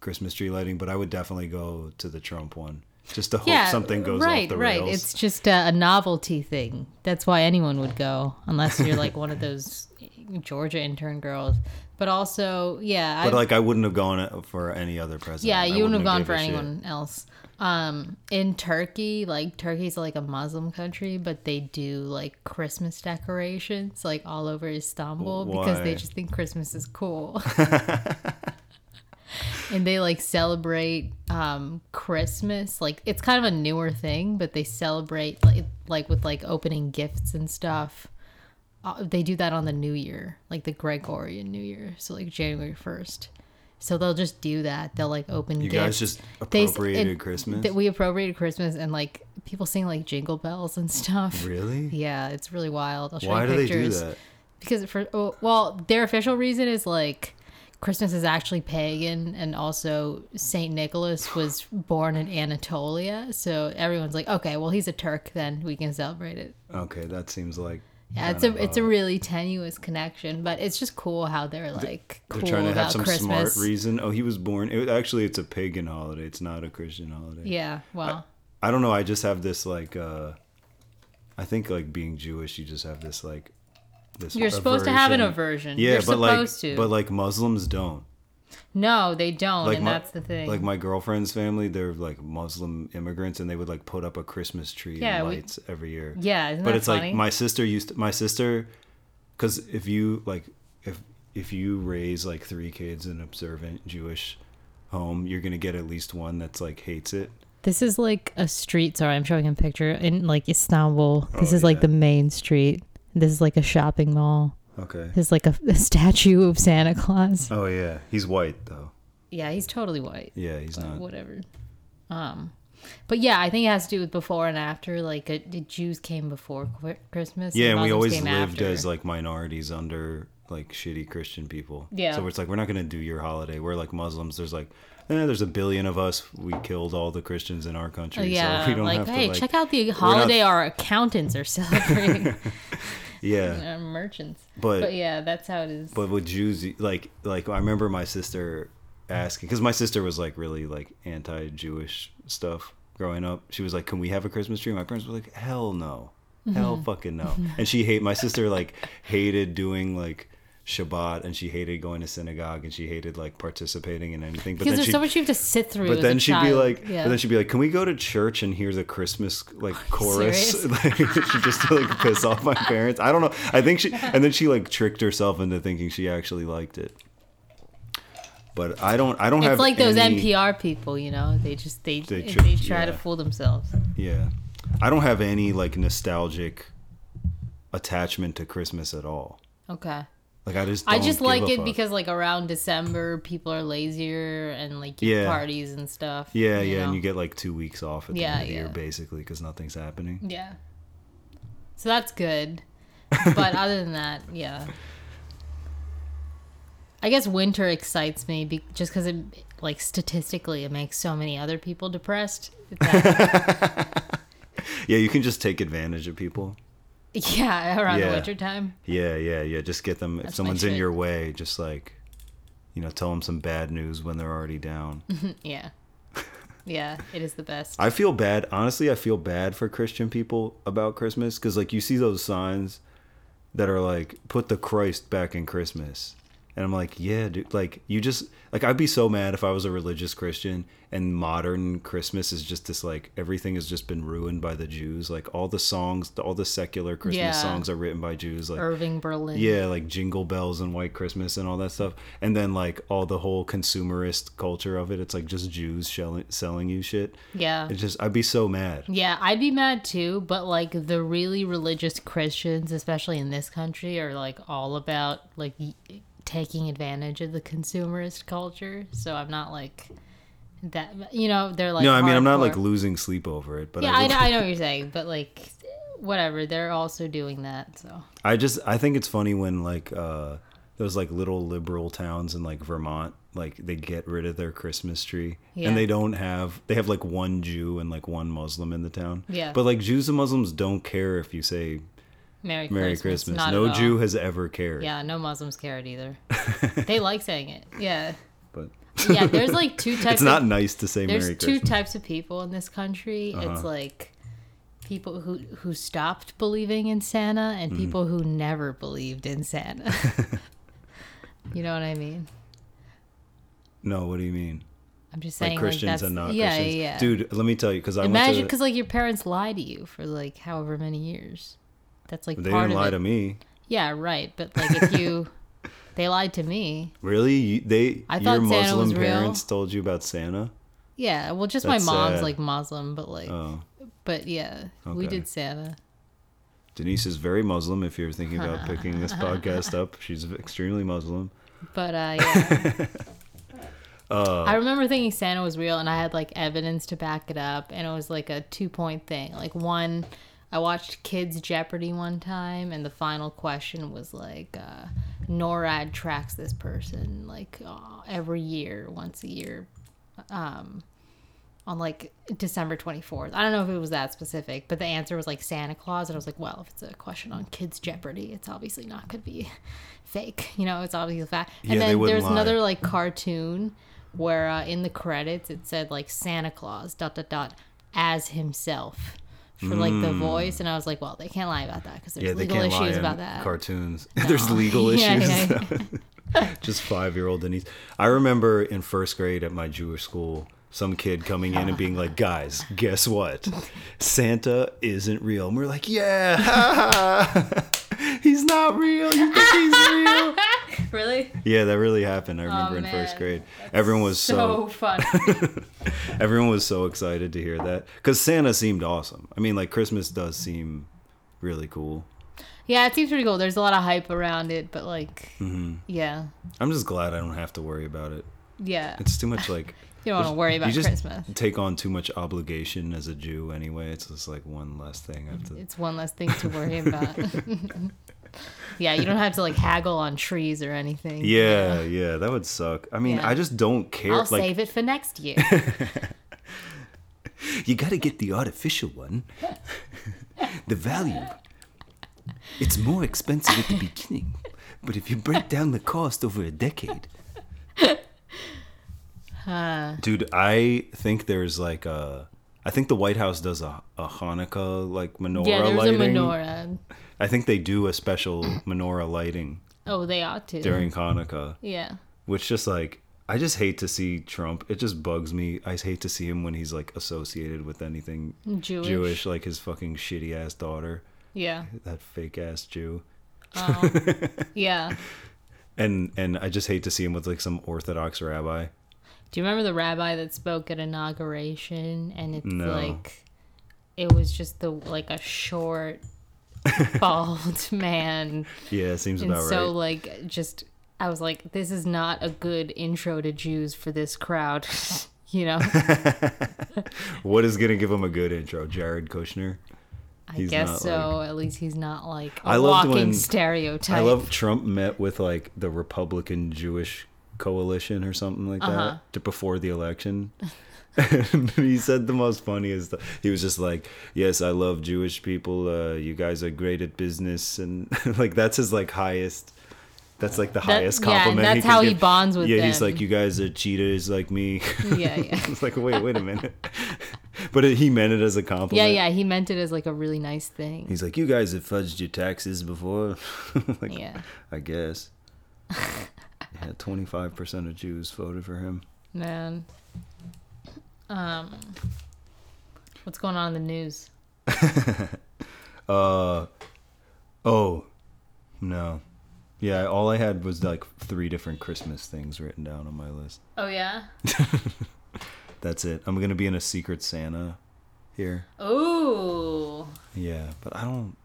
C: Christmas tree lighting. But I would definitely go to the Trump one just to hope something goes
D: right,
C: off the
D: right.
C: rails.
D: It's just a, a novelty thing. That's why anyone would go, unless you're like one of those Georgia intern girls. But also, yeah,
C: but
D: I,
C: like I wouldn't have gone uh, for any other president.
D: yeah,
C: I
D: you wouldn't have gone for
C: given a shit.
D: anyone else. Um, in Turkey, like Turkey's like a Muslim country, but they do like Christmas decorations like all over Istanbul because
C: Why?
D: they just think Christmas is
C: [laughs]
D: cool. [laughs] and they like celebrate um Christmas. Like it's kind of a newer thing, but they celebrate like like with like opening gifts and stuff. Uh, they do that on the New Year, like the Gregorian New Year, so like January first. So they'll just do that. They'll like open.
C: You
D: gifts.
C: guys just
D: They s-
C: appropriated
D: and
C: Christmas.
D: That we appropriated Christmas and like people sing like jingle bells and stuff.
C: really?
D: Yeah, it's really wild. I'll show
C: Why
D: you
C: do they do
D: pictures
C: that?
D: because for oh, well their official reason is like christmas is actually pagan and also saint nicholas was born in anatolia so everyone's like okay well he's a turk then we can celebrate it
C: Okay, that seems like
D: yeah it's
C: kind
D: a
C: of,
D: it's a
C: uh,
D: really tenuous connection but it's just cool how they're like
C: They're
D: cool
C: trying to have
D: about
C: some
D: christmas
C: smart reason. Oh, he was born. It, actually, it's a pagan holiday. It's not a Christian holiday.
D: yeah
C: uh,
D: well
C: I don't know. I just have this like. uh I think like being Jewish, you just have this like. This
D: you're supposed to have an aversion
C: Yeah,
D: you're
C: but like,
D: supposed to
C: but like Muslims don't.
D: no they don't
C: Like
D: and
C: my,
D: that's the thing
C: Like my girlfriend's family, they're like Muslim immigrants, and they would like put up a Christmas tree
D: Yeah,
C: and
D: we-
C: lights every year.
D: yeah isn't
C: but
D: that
C: it's
D: funny?
C: like my sister used to, my sister because if you like if if you raise like three kids in an observant jewish home you're gonna get at least one that's like hates it
D: This is like a street. Sorry, I'm showing a picture in like Istanbul. This
C: Oh,
D: is like
C: yeah.
D: the main street. This is like a shopping mall.
C: okay
D: This is like a, a [laughs] statue of Santa Claus.
C: oh yeah he's white though
D: Yeah, he's totally white.
C: yeah he's not
D: Whatever. Um, but yeah, I think it has to do with before and after. Like uh the Jews came before Qu- Christmas.
C: yeah and we
D: Muslims
C: always
D: came
C: lived
D: after.
C: as like minorities under like shitty christian people
D: Yeah.
C: so it's like we're not gonna do your holiday we're like muslims there's like eh, there's a billion of us we killed all the christians in our country
D: Oh, yeah,
C: so [laughs] we don't
D: like
C: have
D: hey,
C: to like
D: check out the holiday our accountants
C: [laughs]
D: are [laughs] celebrating.
C: yeah
D: uh, merchants,
C: But-
D: but yeah, that's how it is.
C: But with Jews, like like I remember my sister asking because my sister was like really like anti-Jewish stuff growing up. She was like, "Can we have a Christmas tree?" My parents were like, "Hell no,
D: Mm-hmm.
C: hell fucking no." and she hate my sister like hated doing like Shabbat and she hated going to synagogue and she hated like participating in anything. But
D: because
C: then
D: there's
C: she.
D: so much you have to sit through.
C: but
D: as
C: then
D: a
C: she'd be
D: child.
C: like,
D: yeah.
C: but then she'd be like, "Can we go to church and hear the Christmas
D: [laughs]
C: like chorus?" [laughs]
D: serious?
C: like she just to, like piss off my parents. I don't know. I think she and then she like tricked herself into thinking she actually liked it. But I don't. I don't have.
D: It's like those
C: any,
D: NPR people, you know. They just they
C: They
D: they,
C: tr-
D: try
C: yeah.
D: to fool themselves.
C: Yeah, I don't have any like nostalgic attachment to Christmas at all.
D: Okay.
C: Like I just.
D: I
C: don't
D: just
C: give
D: like
C: a
D: it
C: fuck.
D: because like around December people are lazier and like
C: Yeah.
D: parties and stuff.
C: Yeah, yeah,
D: know?
C: and you get like two weeks off at the
D: Yeah,
C: end of the year
D: yeah.
C: basically because nothing's happening.
D: Yeah. So that's good. But other than that, yeah. I guess winter excites me be- just because it, like, statistically, it makes so many other people depressed.
C: [laughs]
D: That,
C: Yeah, you can just take advantage of people.
D: yeah, around
C: Yeah.
D: the winter time.
C: Yeah, yeah, yeah. Just get them. if
D: That's my
C: someone's in
D: shit.
C: your way, just like, you know, tell them some bad news when they're already down.
D: Mm. Yeah. Yeah, it is
C: [laughs]
D: the best.
C: I feel bad. Honestly, I feel bad for Christian people about Christmas because, like, you see those signs that are like, put the Christ back in Christmas. And I'm like, yeah, dude. Like, you just, like, I'd be so mad if I was a religious Christian and modern Christmas is just this, like, everything has just been ruined by the Jews. Like, all the songs, all the secular Christmas
D: Yeah.
C: songs are written by Jews. Like,
D: Irving Berlin.
C: yeah, like Jingle Bells and White Christmas and all that stuff. And then like all the whole consumerist culture of it. It's like just Jews shell- selling you shit.
D: Yeah.
C: It's just I'd be so mad.
D: Yeah, I'd be mad too, but like the really religious Christians, especially in this country, are like all about like y- taking advantage of the consumerist culture. So I'm not like that, you know, they're like.
C: no, I mean I'm not
D: hardcore.
C: like losing sleep over it, but
D: Yeah,
C: I,
D: I
C: would-
D: know, I know what you're saying, but like, whatever. They're also doing that, so.
C: I just I think it's funny when like uh those like little liberal towns in like Vermont like they get rid of their Christmas tree
D: Yeah.
C: and they don't have they have like one Jew and like one Muslim in the town.
D: Yeah.
C: But like Jews and Muslims don't care if you say
D: Merry,
C: Merry
D: Christmas.
C: Christmas.
D: Not at
C: No
D: all.
C: Jew has ever cared.
D: Yeah, no Muslims care
C: [laughs]
D: it either. they like saying it. Yeah.
C: But
D: Yeah, there's like two types
C: it's not
D: of
C: nice to say
D: there's
C: Merry
D: two
C: Christmas. Uh-huh.
D: types of people in this country. It's like people who who stopped believing in Santa and
C: Mm-hmm.
D: people who never believed in
C: [laughs]
D: Santa. you know what I mean?
C: no, what do you mean?
D: I'm just
C: Like
D: saying
C: Christians
D: that's,
C: and not
D: yeah,
C: Christians.
D: Yeah, yeah.
C: Dude, let me tell you, because I
D: Imagine
C: went to.
D: because like your parents lie to you for like however many years. That's like
C: They
D: part
C: didn't
D: of
C: lie
D: it.
C: to me.
D: Yeah, right. But like
C: [laughs]
D: if you, they lied to me.
C: Really? You, they
D: I
C: your
D: thought Santa
C: Muslim
D: was real.
C: parents told you about Santa?
D: Yeah, well, just
C: That's
D: my mom's
C: sad.
D: like Muslim, but like,
C: Oh,
D: but yeah,
C: Okay.
D: we did Santa.
C: Denise is very Muslim. If you're thinking about picking
D: [laughs]
C: this podcast up, she's extremely Muslim.
D: But uh, yeah. I remember thinking Santa was real, and I had like evidence to back it up, and it was like a two point thing. Like one, I watched Kids Jeopardy one time, and the final question was like, uh, NORAD tracks this person like uh, every year, once a year, um, on like December twenty fourth. I don't know if it was that specific, but the answer was like Santa Claus, and I was like, well, if it's a question on Kids Jeopardy, it's obviously not going to be [laughs] fake. You know, it's obviously a fact.
C: Yeah,
D: and
C: they
D: then
C: wouldn't
D: there's
C: lie.
D: another like cartoon where uh, in the credits it said like Santa Claus dot dot dot as himself for like the voice, and I was like, well, they can't lie about that because there's
C: Hmm. Yeah, they
D: legal
C: can't lie
D: issues
C: in
D: about that.
C: cartoons. [laughs] There's legal
D: [laughs] Yeah,
C: issues.
D: yeah,
C: just five year old Denise. I remember in first grade at my Jewish school, some kid coming in and being like, "Guys, guess what? Santa isn't real." And we're like, "Yeah, [laughs] ha, ha. he's not real. You think he's
D: [laughs]
C: real?" [laughs]
D: really?
C: Yeah, that really happened. I remember in first
D: Oh, man.
C: grade, everyone was
D: [laughs] So fun.
C: so [laughs] everyone was so excited to hear that because Santa seemed awesome. I mean, like Christmas does seem really cool.
D: yeah, it seems pretty cool. There's a lot of hype around it, but like,
C: Mm-hmm.
D: yeah,
C: I'm just glad I don't have to worry about it.
D: yeah.
C: It's too much like
D: [laughs] you don't want to worry about
C: you just
D: Christmas.
C: take on too much obligation as a Jew anyway. It's just like one less thing I have to.
D: It's one less thing to worry about. [laughs] yeah, you don't have to like haggle on trees or anything.
C: Yeah, yeah, that would suck. I mean,
D: Yeah.
C: I just don't care.
D: I'll
C: like,
D: save it for
C: [laughs]
D: next year.
C: you got to get the artificial one. [laughs] the value. It's more expensive at the beginning, but if you break down the cost over a
D: [laughs]
C: decade. Dude, I think there's like a. I think the White House does a, a Hanukkah like menorah
D: yeah, there's
C: lighting.
D: a menorah.
C: I think they do a
D: [clears throat]
C: special menorah lighting
D: Oh, they ought to.
C: during Hanukkah,
D: yeah.
C: which just like I just hate to see Trump. It just bugs me. I hate to see him when he's like associated with anything
D: Jewish.
C: Jewish, like his fucking shitty ass daughter,
D: Yeah.
C: that fake ass Jew.
D: Yeah.
C: And and I just hate to see him with like some Orthodox rabbi.
D: Do you remember the rabbi that spoke at inauguration? And it's
C: No.
D: like, it was just the like a
C: [laughs]
D: short, bald man,
C: Yeah, it seems
D: and
C: about
D: so
C: right.
D: like just I was like, this is not a good intro to Jews for this crowd, [laughs] you know.
C: What is gonna give him a good intro? Jared Kushner.
D: I
C: He's
D: guess
C: not,
D: so. At least he's not like a
C: I loved
D: walking
C: when-
D: stereotype.
C: I love Trump met with like the Republican Jewish coalition or something like
D: Uh-huh.
C: that to, before the election. [laughs] and he said the most funniest. th- He was just like, "Yes, I love Jewish people. Uh, you guys are great at business," and [laughs] like that's his like highest. That's like the highest
D: yeah, and
C: compliment.
D: that's
C: can
D: how he
C: give.
D: bonds with
C: Yeah, he's
D: them.
C: like, "You guys are cheaters like me."
D: [laughs]
C: [laughs]
D: yeah, [laughs] yeah. [laughs]
C: it's like, wait, wait a minute. But he meant it as a compliment.
D: Yeah, yeah, he meant it as like a really nice thing.
C: He's like, you guys have fudged your taxes before. [laughs] like,
D: Yeah.
C: I guess. yeah, 25% of Jews voted for him.
D: Man. Um What's going on in the news?
C: Uh, oh, no. Yeah, all I had was like three different Christmas things written down on my list.
D: Oh yeah.
C: That's it. I'm going to be in a Secret Santa here.
D: Ooh.
C: Yeah, but I don't,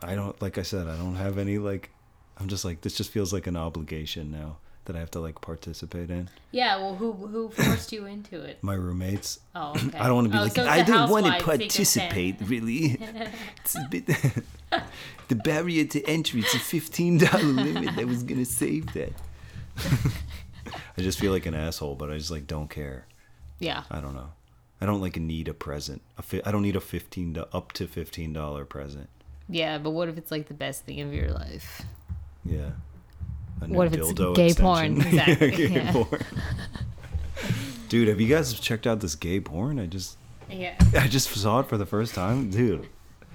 C: I don't, like I said, I don't have any, like, I'm just like, this just feels like an obligation now that I have to, like, participate in.
D: Yeah, well who who forced you into it?
C: My roommates, [clears throat]
D: Oh, okay.
C: I don't want to be
D: Oh,
C: like,
D: so it's
C: I
D: a
C: don't want to
D: housewife secret
C: participate,
D: [laughs]
C: really. It's a bit, [laughs] the barrier to entry, it's a $15 limit. I was going to save that. [laughs] I just feel like an asshole, but I just like don't care.
D: Yeah.
C: I don't know. I don't like need a present. A fi- I don't need a 15 do- up to $15 present.
D: Yeah, but what if it's like the best thing of your life?
C: Yeah. A new
D: What if it's
C: dildo
D: gay
C: [laughs]
D: porn?
C: extension. Yeah,
D: Exactly,
C: gay
D: yeah. [laughs]
C: porn. Dude, have you guys checked out this gay porn? I just
D: Yeah.
C: [laughs] I just saw it for the first time, dude.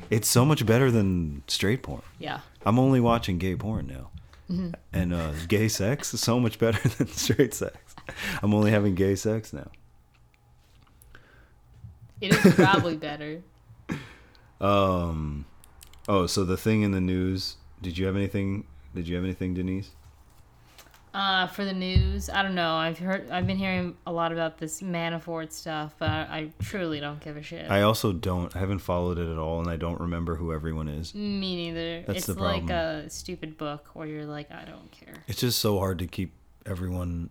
C: It's so much better than straight porn.
D: Yeah.
C: I'm only watching gay porn now, and uh, gay sex is so much better [laughs] than straight sex. I'm only having gay sex now.
D: It is probably better.
C: Oh, so the thing in the news. Did you have anything? Did you have anything, Denise?
D: Uh, for the news, I don't know. I've heard, I've been hearing a lot about this Manafort stuff, but I, I truly don't give a shit.
C: I also don't. I haven't followed it at all, and I don't remember who everyone is.
D: Me neither.
C: That's
D: it's
C: the
D: like
C: problem.
D: a stupid book where you're like, I don't care.
C: It's just so hard to keep everyone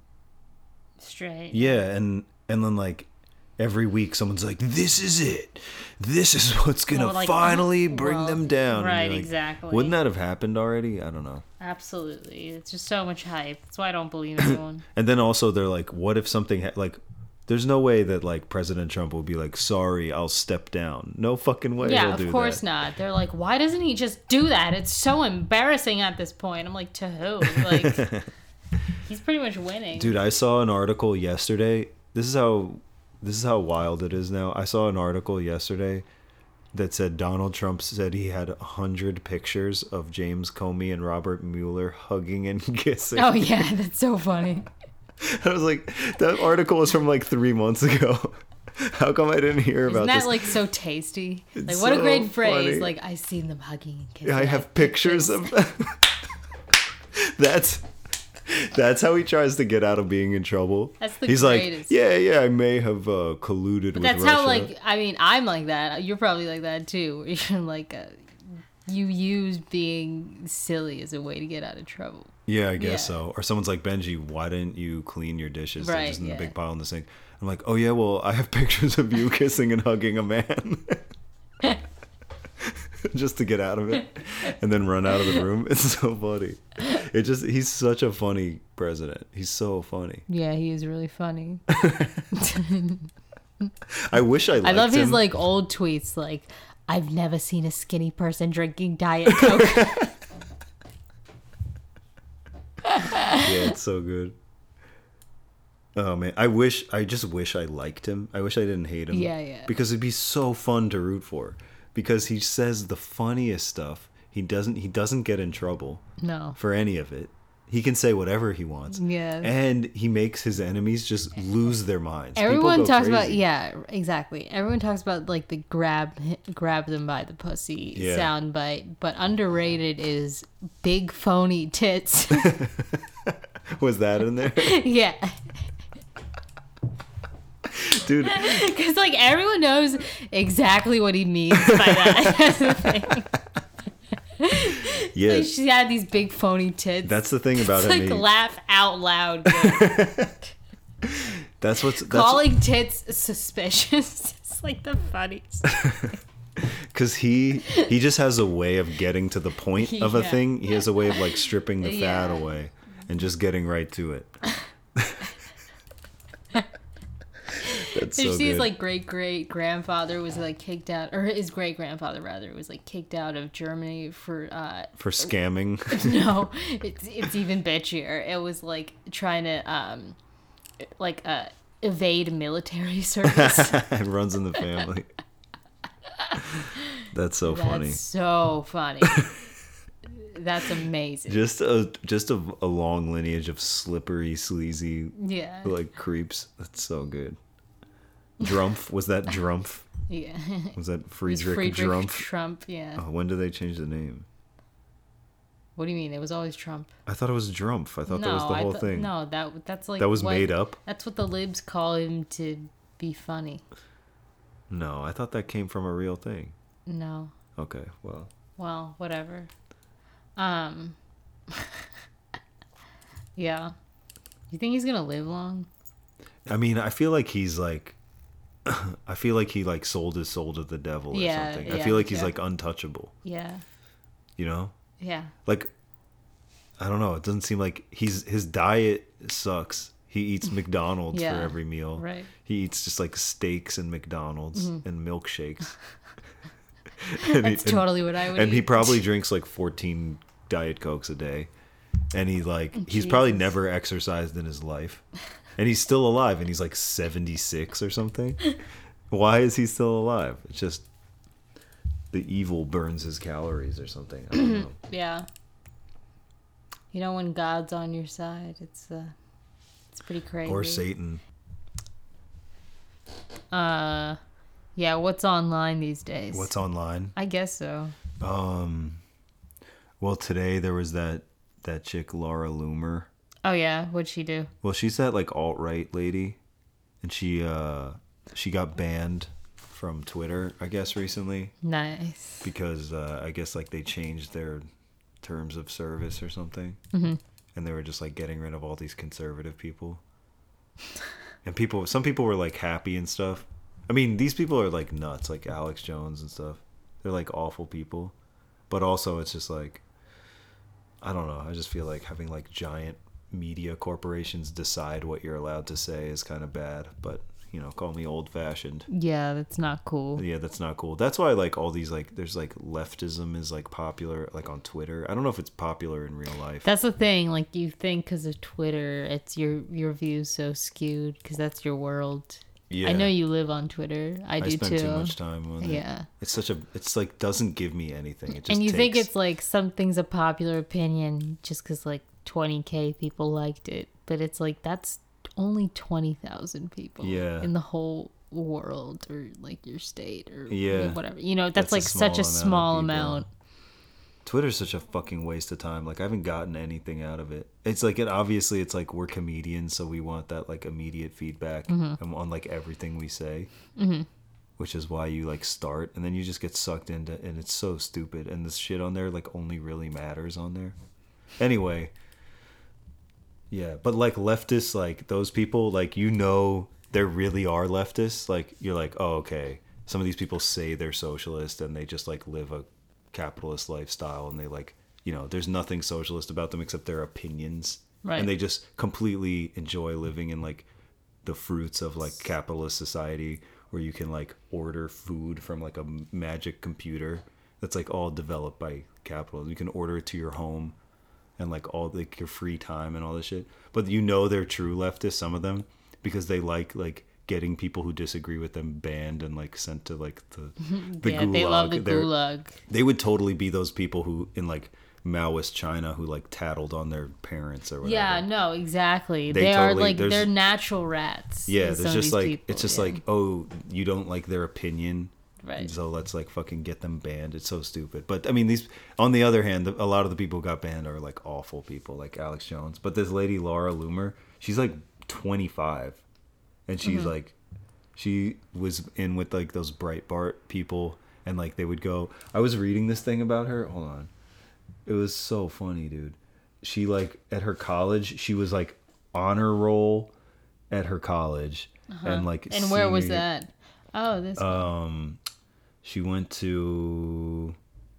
D: Straight.
C: Yeah, and and then like every week someone's like, "This is it. This is [laughs] what's gonna
D: Or, like, oh,
C: finally bring
D: well,
C: them down." And
D: right,
C: you're like,
D: exactly.
C: Wouldn't that have happened already? I don't know.
D: Absolutely. It's just so much hype. That's why I
C: [coughs]
D: don't believe anyone.
C: And then also they're like, "What if something ha- like?" There's no way that like President Trump will be like, "Sorry, I'll step down." No fucking way.
D: yeah,
C: he'll do
D: of course
C: that.
D: not. They're like, why doesn't he just do that? It's so embarrassing at this point. I'm like, to who?
C: [laughs]
D: Like, he's pretty much winning.
C: Dude, I saw an article yesterday. This is how this is how wild it is now. I saw an article yesterday that said Donald Trump said he had a hundred pictures of James Comey and Robert Mueller hugging and [laughs] kissing.
D: Oh yeah, [laughs] that's so funny.
C: I was like, that article was from like three months ago. [laughs] How come I didn't hear
D: Isn't
C: about
D: that
C: this?
D: like so
C: [laughs]
D: tasty? Like
C: It's
D: what a
C: so
D: great phrase.
C: funny.
D: Like I seen them hugging and kissing.
C: I have pictures of [laughs] that's that's how he tries to get out of being in trouble.
D: That's the
C: He's
D: greatest.
C: like, yeah, yeah, I may have uh, colluded with
D: That's
C: Russia.
D: how like I mean I'm like that. You're probably like that too. [laughs] where You're like uh you use being silly as a way to get out of trouble.
C: Yeah, I guess
D: Yeah.
C: so. Or someone's like, Benji, why didn't you clean your dishes? They're
D: Right,
C: just in a
D: yeah.
C: big pile in the sink. I'm like, oh yeah, well, I have [laughs] pictures of you kissing and hugging a man. [laughs] just to get out of it and then run out of the room. [laughs] It's so funny. It just, he's such a funny president. He's so funny.
D: Yeah, he is
C: [laughs]
D: really funny.
C: I wish I liked
D: I love his
C: him.
D: like old tweets like I've never seen a skinny person drinking diet coke.
C: yeah, it's so good. Oh man, I wish I just wish I liked him. I wish I didn't hate him.
D: Yeah, yeah.
C: Because it'd be so fun to root for. Because he says the funniest stuff. He doesn't he doesn't get in trouble
D: [laughs] no.
C: for any of it. He can say whatever he wants.
D: Yeah.
C: And he makes his enemies just lose their minds. People
D: Everyone
C: go
D: talks about
C: crazy.
D: yeah, exactly. Everyone talks about like the grab grab them by the pussy
C: Yeah.
D: sound bite, but underrated is big phony tits. [laughs]
C: Was that in there? [laughs]
D: yeah. [laughs] [laughs]
C: Dude,
D: Cuz like everyone knows exactly what he means by that. That's the thing. Like,
C: yes.
D: she had these big phony tits.
C: That's the thing about
D: it's
C: him.
D: [laughs] like
C: he-
D: laugh
C: [laughs]
D: out loud.
C: that's what's that's
D: Calling tits suspicious. [laughs] It's like the funniest.
C: because he he just has a way of getting to the point of a
D: Yeah.
C: thing he has a way of like stripping the fat
D: Yeah.
C: away and just getting right to it that's
D: Did
C: so
D: you see
C: good
D: his like great great grandfather was like kicked out, or his great grandfather rather was like kicked out of Germany for uh [laughs]
C: for scamming
D: no, it's it's even bitchier. It was like trying to um, like uh evade military [laughs] service.
C: [laughs] it runs in the family. That's so funny.
D: That's so
C: [laughs]
D: funny. That's amazing.
C: Just a just a, a long lineage of slippery, sleazy
D: yeah.
C: like creeps. That's so good. Drumpf was that Drumpf?
D: yeah. [laughs]
C: Was that
D: It's
C: Friedrich, Drumpf?
D: Trump. Yeah.
C: Oh, when did they change the name?
D: What do you mean? It was always Trump.
C: I thought it was Drumpf. I thought that was the
D: I
C: whole
D: thought-
C: thing.
D: No, that that's like
C: That was
D: what-
C: made up?
D: That's what the libs call him to be funny.
C: No, I thought that came from a real thing.
D: No.
C: Okay, well,
D: Well, whatever. Um. [laughs] yeah. You think he's gonna live long?
C: I mean, I feel like he's like, [clears throat] I feel like he like sold his soul to the devil or
D: Yeah,
C: something. I
D: yeah,
C: feel like he's
D: yeah.
C: like untouchable.
D: Yeah.
C: You know,
D: Yeah.
C: like, I don't know. It doesn't seem like he's his diet sucks. He
D: [laughs]
C: eats McDonald's
D: Yeah,
C: for every meal.
D: right. Mm-hmm.
C: He eats just like steaks and McDonald's and
D: [laughs]
C: milkshakes. [laughs] and
D: That's
C: he, and-
D: totally what I would.
C: and he
D: eat. [laughs]
C: probably drinks like 14 diet cokes a day and he like he's probably
D: Jesus.
C: never exercised in his life and he's still alive and he's like 76 or something why is he still alive it's just the evil burns his calories or something i don't know
D: Yeah. You know when God's on your side, it's uh, it's pretty crazy.
C: or satan
D: Uh, yeah. What's online these days?
C: what's online
D: I guess so.
C: um well today there was that that chick laura loomer
D: Oh yeah, what'd she do?
C: Well, she's that like alt right lady, and she uh she got banned from Twitter, I guess, recently
D: Nice.
C: because uh, I guess like they changed their terms of service or something, and they were just like getting rid of all these conservative people. and people, some people were like happy and stuff. I mean, these people are like nuts, like Alex Jones and stuff. They're like awful people, but also it's just like I don't know. I just feel like having like giant media corporations decide what you're allowed to say is kind of bad. But you know, call me old fashioned.
D: Yeah, that's not cool.
C: Yeah, that's not cool. That's why like all these like there's like leftism is like popular like on Twitter. I don't know if it's popular in real life.
D: That's the thing. Like you think because of Twitter, it's your your views so skewed because that's your world.
C: yeah,
D: I know you live on Twitter. I,
C: I
D: do
C: spend
D: too.
C: too much time on it.
D: Yeah.
C: it's such a it's like doesn't give me anything. It just
D: and you think
C: takes-
D: it's like something's a popular opinion just because like 20k people liked it, but it's like that's only 20,000 people
C: Yeah.
D: in the whole world or like your state or
C: Yeah.
D: whatever. You know, that's,
C: That's a
D: like such a
C: small amount of
D: small
C: people.
D: amount.
C: Twitter's such a fucking waste of time. Like I haven't gotten anything out of it. It's like it obviously it's like we're comedians, so we want that like immediate feedback
D: Mm-hmm.
C: and on like everything we say, which is why you like start and then you just get sucked into and it's so stupid. And this shit on there like only really matters on there. Anyway, yeah, but like leftists, like those people, like you know, there really are leftists. Like you're like, oh, okay. Some of these people say they're socialist and they just like live a capitalist lifestyle and they like, you know, there's nothing socialist about them except their opinions.
D: Right.
C: And they just completely enjoy living in like the fruits of like capitalist society where you can like order food from like a m- magic computer that's like all developed by capitalism. You can order it to your home and like all like your free time and all this shit. But you know they're true leftists, some of them, because they like like getting people who disagree with them banned and like sent to like the the
D: [laughs] yeah,
C: gulag.
D: they love the
C: They're-
D: gulag.
C: they would totally be those people who in like Maoist China who like tattled on their parents or whatever.
D: Yeah, no, exactly. They,
C: They
D: are
C: totally-
D: like
C: there's-
D: they're natural rats.
C: Yeah,
D: in some
C: there's
D: of
C: just
D: these
C: like
D: people,
C: it's just
D: yeah.
C: like oh you don't like their opinion,
D: Right.
C: So let's like fucking get them banned. It's so stupid. But I mean these. On the other hand, a lot of the people who got banned are like awful people, like Alex Jones. But this lady Laura Loomer, she's like 25, and she's
D: Mm-hmm.
C: like she was in with like those Breitbart people, and like they would go. I was reading this thing about her. Hold on. It was so funny, dude. She like at her college, she was like honor roll at her college, and like
D: Uh-huh. And where was
C: senior-
D: that? Oh, this
C: Uh, She went to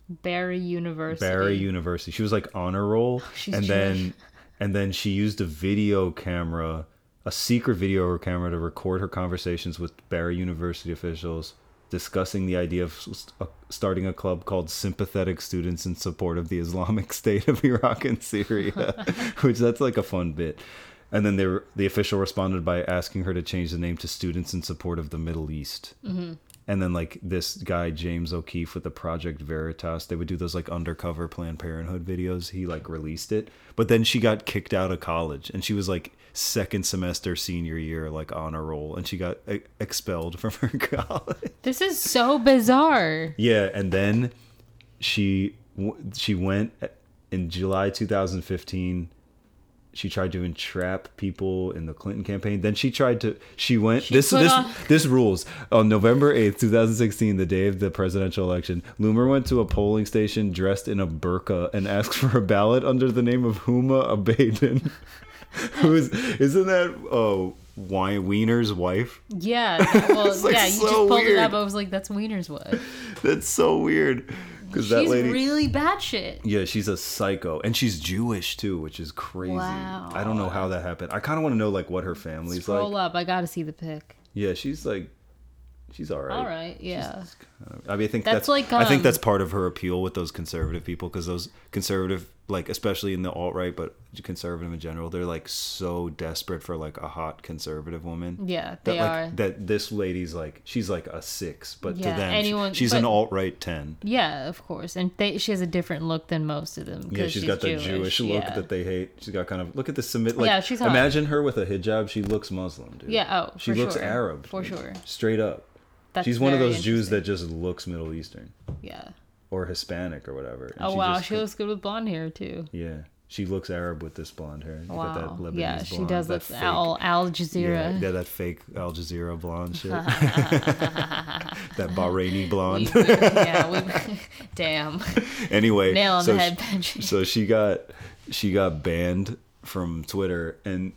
D: Barry University. Oh,
C: Barry University. She was like honor roll,
D: she's
C: and
D: Jewish.
C: then and then she used a video camera, a secret video camera, to record her conversations with Barry University officials discussing the idea of s- uh, starting a club called Sympathetic Students [laughs] in support of the Islamic State of Iraq and Syria, which that's like a fun bit. And then they were, the official responded by asking her to change the name to Students in Support of the Middle East. Mm-hmm. And then like this guy James O'Keefe with the Project Veritas, they would do those like undercover Planned Parenthood videos. He like released it, but then she got kicked out of college, and she was like second semester senior year like on a roll, and she got e- expelled from her [laughs] college.
D: This is so bizarre.
C: Yeah, and then she w- she went uh, in July 2015. She tried to entrap people in the Clinton campaign. Then she tried to she went this
D: put
C: this
D: on-
C: this rules. On November 8th, 2016, the day of the presidential election, Loomer went to a polling station dressed in a burqa and asked for a ballot under the name of Huma [laughs] Abedin. Who's isn't that oh Wei- Wiener's wife? [laughs]
D: Yeah. that- Well,
C: like
D: yeah. You
C: so
D: just pulled it up.
C: weird.
D: I was like, "That's
C: [laughs]
D: Wiener's wife."
C: That's so weird. Because that
D: She's
C: lady
D: really bad shit.
C: Yeah, she's a psycho, and she's Jewish too, which is crazy.
D: Wow.
C: I don't know how that happened. I kind of want to know like what her family's
D: Roll
C: like.
D: up. I gotta see the pic.
C: Yeah, she's like, she's all right. Uh,
D: All right. Yeah.
C: I mean, I think that's,
D: That's like,
C: I think
D: um,
C: that's part of her appeal with those conservative people because those conservative, like especially in the alt right, but conservative in general, they're like so desperate for like a hot conservative woman.
D: Yeah,
C: that,
D: they
C: like,
D: are.
C: That this lady's like she's like a six, but
D: Yeah,
C: to them,
D: anyone-
C: she's
D: but-
C: an alt right ten.
D: Yeah, of course. And they, she has a different look than most of them.
C: Yeah,
D: 'cause
C: she's got that Jewish, look
D: yeah.
C: that they hate. She's got kind of look at the Semit. Like,
D: Yeah, she's hot.
C: imagine her with a hijab. She looks Muslim, dude.
D: Yeah, oh,
C: she
D: for
C: looks
D: sure.
C: Arab
D: For
C: dude.
D: sure.
C: Straight up,
D: That's
C: she's one of
D: very
C: those Jews that just looks Middle Eastern
D: interesting. Yeah.
C: or Hispanic or whatever. and
D: Oh wow,
C: just
D: she
C: co-
D: looks good with blonde hair too.
C: Yeah, she looks Arab with this blonde hair. You got that
D: Wow.
C: Lebanese
D: yeah, she
C: blonde,
D: does
C: that
D: look
C: fake-
D: Al Al
C: Yeah,
D: [laughs] Jazeera.
C: yeah, that fake Al Jazeera blonde
D: [laughs]
C: shit. [laughs] that Bahraini blonde.
D: We-
C: [laughs]
D: yeah, we, [laughs] damn.
C: anyway,
D: Nail on
C: so
D: the
C: she-
D: head, Benji.
C: so she got she got banned from Twitter and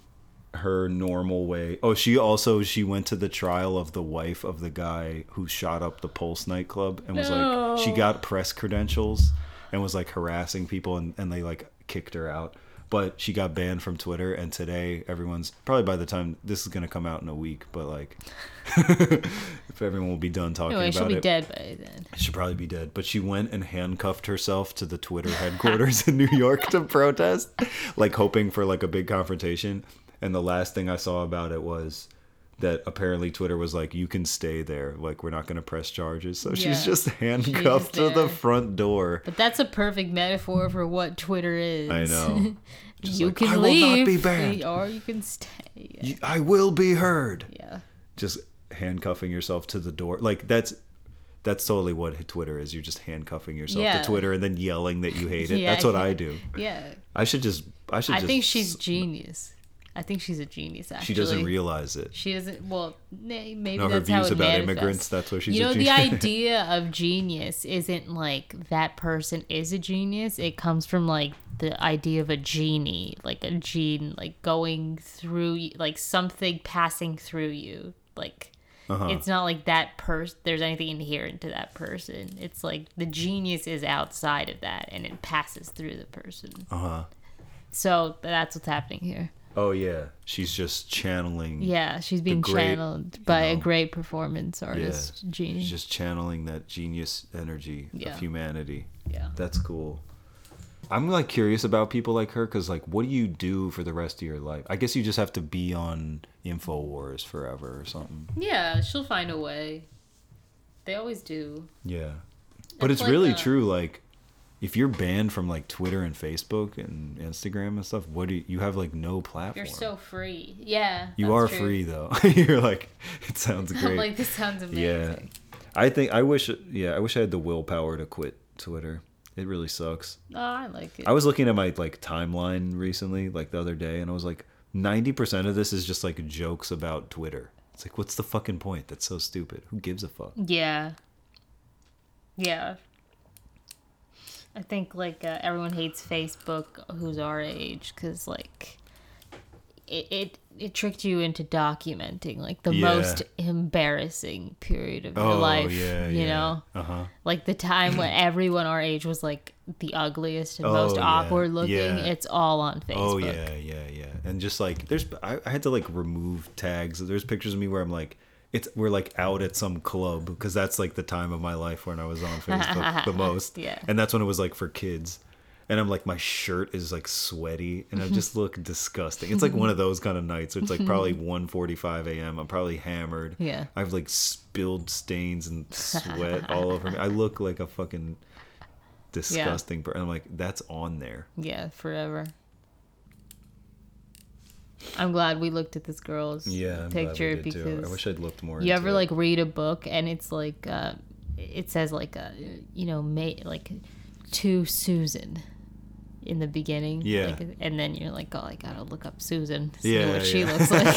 C: her normal way. Oh, she also she went to the trial of the wife of the guy who shot up the Pulse nightclub and was
D: No.
C: like she got press credentials and was like harassing people and, and they like kicked her out. But she got banned from Twitter and today everyone's probably by the time this is gonna come out in a week, but like [laughs] if everyone will be done talking
D: Anyway,
C: about
D: she'll be
C: it.
D: dead by then.
C: She'd probably be dead. But she went and handcuffed herself to the Twitter headquarters in New York to protest, like hoping for like a big confrontation. And the last thing I saw about it was that apparently Twitter was like, "You can stay there. Like we're not going to press charges." So she's
D: Yeah.
C: just handcuffed to
D: there.
C: the front door.
D: But that's a perfect metaphor for what Twitter is.
C: I
D: [laughs]
C: know. Just
D: you
C: like,
D: can
C: I
D: leave,
C: will not be banned.
D: or you can stay.
C: You- I will be heard.
D: Yeah.
C: Just handcuffing yourself to the door. Like that's. That's totally what Twitter is. You're just handcuffing yourself
D: Yeah.
C: to Twitter and then yelling that you hate it.
D: Yeah,
C: That's what I
D: yeah.
C: do.
D: Yeah.
C: I should just. I should.
D: I
C: just,
D: think she's genius. I think she's a genius. Actually,
C: She doesn't realize it.
D: She doesn't. Well, nay- maybe
C: No, her
D: that's how
C: views
D: it
C: about
D: manifests.
C: immigrants. That's where she's.
D: you
C: a
D: know, the
C: genius. [laughs]
D: idea of genius isn't like that person is a genius. It comes from like the idea of a genie, like a gene, like going through, y- like something passing through you. Like
C: Uh-huh.
D: it's not like that person. There's anything inherent to that person. It's like the genius is outside of that, and it passes through the person. Uh huh.
C: Uh-huh.
D: So that's what's happening here.
C: oh yeah, she's just channeling.
D: Yeah, she's being
C: great,
D: channeled by a great performance artist, Genie.
C: She's just channeling that genius energy
D: Yeah.
C: of humanity.
D: Yeah.
C: That's cool. I'm like curious about people like her because like, what do you do for the rest of your life? I guess you just have to be on Infowars forever or something.
D: Yeah, she'll find a way. They always do.
C: Yeah. But
D: It's
C: it's
D: like
C: really
D: a-
C: true. Like, if you're banned from like Twitter and Facebook and Instagram and stuff, what do you, you have like no platform?
D: You're so free. Yeah.
C: You
D: that's
C: are
D: true. [laughs]
C: free though. [laughs] You're like, it sounds
D: I'm
C: great.
D: [laughs] like, this sounds amazing.
C: yeah, I think I wish. Yeah, I wish I had the willpower to quit Twitter. It really sucks.
D: Oh, I like it.
C: I was looking at my like timeline recently, like the other day, and I was like, ninety percent of this is just like jokes about Twitter. It's like, what's the fucking point? That's so stupid. Who gives a fuck?
D: yeah. Yeah. I think, like, uh, everyone hates Facebook who's our age because, like, it, it, it tricked you into documenting, like, the
C: Yeah.
D: most embarrassing period of your
C: Oh,
D: life.
C: yeah,
D: you
C: yeah.
D: know?
C: Uh huh.
D: like the time
C: [clears throat]
D: when everyone our age was like the ugliest and
C: Oh,
D: most
C: yeah.
D: awkward looking
C: Yeah.
D: it's all on facebook
C: Oh yeah, yeah, yeah. And just like there's, I, I had to like remove tags. There's pictures of me where I'm like, it's we're like out at some club
D: [laughs]
C: because that's like the time of my life when I was on Facebook the most.
D: Yeah.
C: And that's when it was like for kids. and I'm like, my shirt is like sweaty, and I
D: [laughs]
C: just look disgusting. It's like one of those kind of nights. Where it's like probably 1:45 a.m. I'm probably hammered.
D: Yeah.
C: I've like spilled stains and
D: [laughs]
C: sweat all over me. I look like a fucking disgusting. per I'm like, that's on there.
D: Yeah, forever. I'm glad we looked at this girl's picture because
C: I wish I'd looked more.
D: you ever like read a book and it's like uh, it says like uh, you know ma- like to Susan in the beginning.
C: Yeah.
D: like, and then you're like, oh, I gotta look up Susan. See
C: Yeah,
D: what she
C: yeah.
D: looks like. [laughs]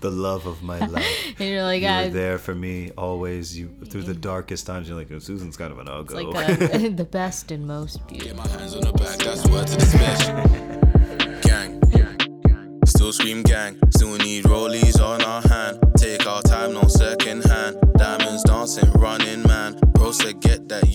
C: [laughs] the love of
D: [laughs]
C: my life.
D: and you're
C: [laughs]
D: like,
C: You
D: I,
C: were there for me always. You through the darkest times. You're like, oh, Susan's kind of an uggo.
D: like
C: [laughs]
D: the, [laughs] the best and most
B: Get
D: beautiful.
B: my hands on her back, that's word to this bitch. Gang, still scream gang. Still need rollies on our hand. Take our time, no second hand. Diamonds dancing, running man. Bro said get that